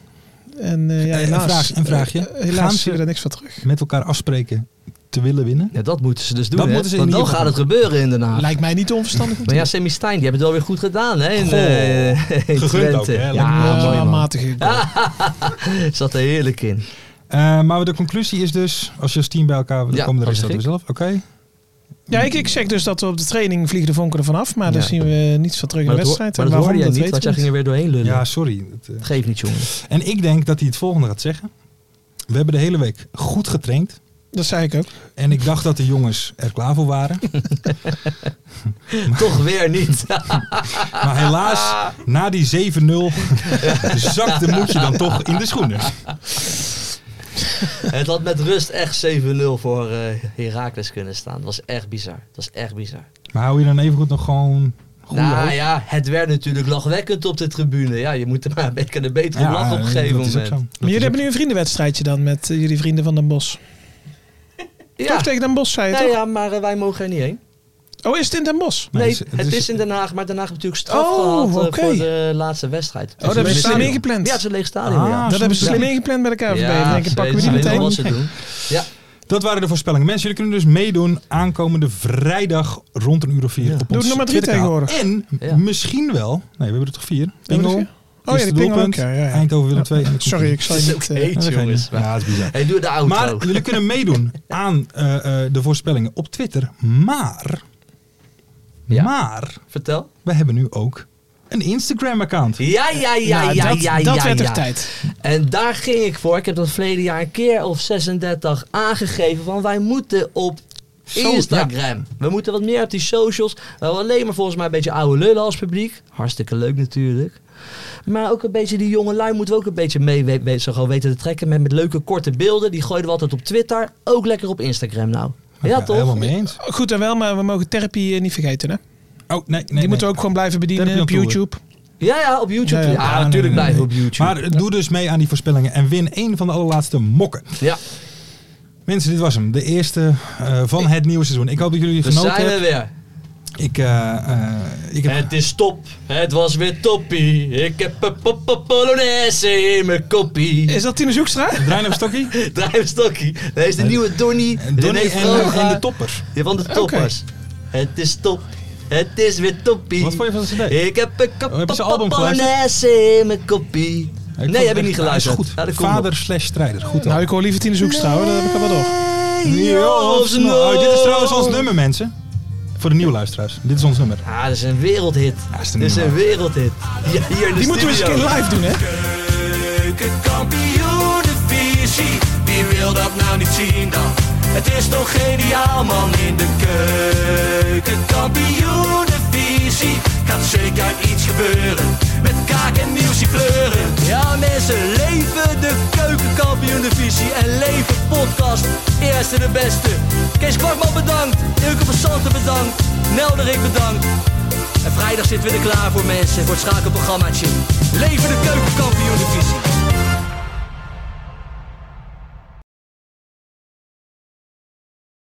En eh, ja,
Eh, een
helaas,
vraag- een vraagje.
eh,
Gaan ze-
helaas zien we daar niks van terug.
met elkaar afspreken te willen winnen.
Ja, dat moeten ze dus doen.
Dat
hè?
moeten ze in
Want dan
ieder
gaat
geval
het gebeuren in Den Haag.
Lijkt mij niet onverstandig. om te
Maar ja, Semi Stijn, die hebben het wel weer goed gedaan, hè? In,
Goh,
eh, (laughs) in
gegund
Twente.
ook, hè?
Ja,
Lekker.
Ah,
Ja,
mooi man.
matige. goal.
Zat er heerlijk in.
Eh, maar de conclusie is dus, als je als team bij elkaar wil
Ja,
komen, de
dat
rest
zeg
dat dus
ik.
zelf. Oké.
Ja, ik, ik zeg dus dat we op de training vliegen de vonken er vanaf. Maar daar
Ja.
zien we niets van terug in
Maar
de
dat, hoor,
wedstrijd.
maar
En
dat hoorde jij
waarom,
niet, want jij
weten
ging
we
er weer doorheen lullen.
Ja, sorry. Het, eh.
Geef niet,
(laughs)
jongen.
En ik denk dat hij het volgende gaat zeggen. We hebben de hele week goed getraind.
niet. Dat zei ik ook.
En ik dacht dat de jongens er klaar voor waren.
Toch weer niet. (laughs)
Maar helaas, na die 7-0
(laughs)
zakte Moetje dan toch in de schoenen.
het had met rust echt 7-0 voor eh Heracles kunnen staan. Dat was echt bizar. Dat was echt bizar.
Maar hou je dan evengoed nog gewoon goede
nou
hoop?
ja, het werd natuurlijk lachwekkend op de tribune. Ja, je moet er maar een beetje een betere
Ja,
lach op een gegeven
dat is ook
moment.
zo. Dat
Maar
is
jullie hebben
ook
nu een vriendenwedstrijdje dan met eh, jullie vrienden van Den Bos.
Ja.
Toch tegen Den Bos zei je
Ja,
toch?
ja, maar eh, wij mogen er niet heen.
Oh, is het in Den Bos?
Nee,
Nee,
het
het,
is-
is, in Den Haag, maar Den Haag heeft natuurlijk straf
Oh,
gehad eh,
oké.
voor de laatste wedstrijd.
Oh, dat hebben ze slim ingepland.
Ja, het is een leeg stadion.
Ah,
ja.
Dat hebben ze
Ja.
slim ingepland bij de KVB.
Ja,
denk ik,
ze
pakken we die
weten wel
meteen.
wat ze doen.
zo. Dat waren de voorspellingen. Mensen, jullie kunnen dus meedoen aankomende vrijdag rond een uur of vier. Op
Doe
ons
het nummer drie
Twitterkanaal. En
Ja.
misschien wel, nee, we hebben er toch vier.
Hebben
Pingel,
we er vier? Oh ja,
eerste
die pingel ook.
doelpunt,
Ja, ja, ja.
Eindhoven Willem II. en de
Sorry, ik zal
(laughs)
je
Het is ook
niet... eh,
heet,
conclusie. Ja, dat
jongens.
is geen- Ja, dat is bizar.
Hey, doe de outro.
Maar jullie kunnen
(laughs)
meedoen aan eh, eh, de voorspellingen op Twitter. Maar,
Ja.
maar,
Vertel.
we hebben nu ook een Instagram-account.
Ja, ja, ja,
nou,
ja,
dat,
ja,
dat
ja,
werd
ja.
echt tijd.
En daar ging ik voor. Ik heb dat verleden jaar een keer of 36 aangegeven van wij moeten op
Zo,
Instagram. We moeten wat meer op die socials. We hebben alleen maar volgens mij een beetje oude lullen als publiek. Hartstikke leuk natuurlijk. Maar ook een beetje die jonge lui moeten we ook een beetje mee we- we- zo gewoon weten te trekken. Met, met leuke korte beelden. Die gooiden we altijd op Twitter. Ook lekker op Instagram nou. ja
Oké,
toch?
Helemaal mee eens.
Goed en wel, maar we mogen therapie eh, niet ververgeten. Hè?
Oh, nee, nee,
die moeten we ook gewoon blijven bedienen
Therapie
op
on tour.
YouTube.
Ja, ja, op YouTube.
Ja,
Ja,
ja.
Ah, nee,
natuurlijk
nee,
blijven
nee.
op YouTube.
Maar doe dus mee aan die voorspellingen en win één van de allerlaatste mokken.
ja,
Mensen, dit was hem. De eerste eh, van het nieuwe seizoen. Ik hoop dat jullie
we
genoten
zijn
hebben.
er weer.
Ik, eh, eh, ik heb...
Het is top, het was weer toppie. Ik heb een po- po- polonaise in mijn koppie.
Is dat Tine Zoekstra?
Draai op Stokkie.
(laughs) Drijfstokkie. Dat is de nieuwe Donnie.
En Donnie
René
en,
Vroga.
en de toppers.
Ja, van de toppers. Het is top, het is weer toppie.
Wat vond je van de cd?
Ik heb een kap-
Oh, heb je zijn
po-
album
polonaise in mijn koppie.
vond
nee,
het
heb ik niet
echt- nou, is
geluisterd. Ja,
Goed.
dat komt nog.
Vader slash strijder. Goed dan.
Nou, ik hoor liever Tine Zoekstra hoor. Dat heb ik al wel door.
Nee, joh, of ze nou-
Oh, dit is
nog.
trouwens ons nummer, mensen. Voor de nieuwe luisteraars. Dit is ons nummer.
Ah, dat is een wereldhit.
is
Dit is een wereldhit. Ja, hier in de
Die moeten we eens een
studio.
keer live doen, hè?
Keukenkampioenenvisie, wie wil dat nou niet zien dan? Het is toch geniaal man in de keukenkampioenenvisie. Gaat zeker iets gebeuren, met kaak en muziek kleuren.
Ja mensen, leven de keukenkampioen-divisie en leven podcast. Eerste de beste. Kees Kwakman bedankt, Ilke van Santen bedankt, Nelderik bedankt. En vrijdag zitten we er klaar voor mensen, voor het schakelprogrammaatje. Leven de keukenkampioen-divisie.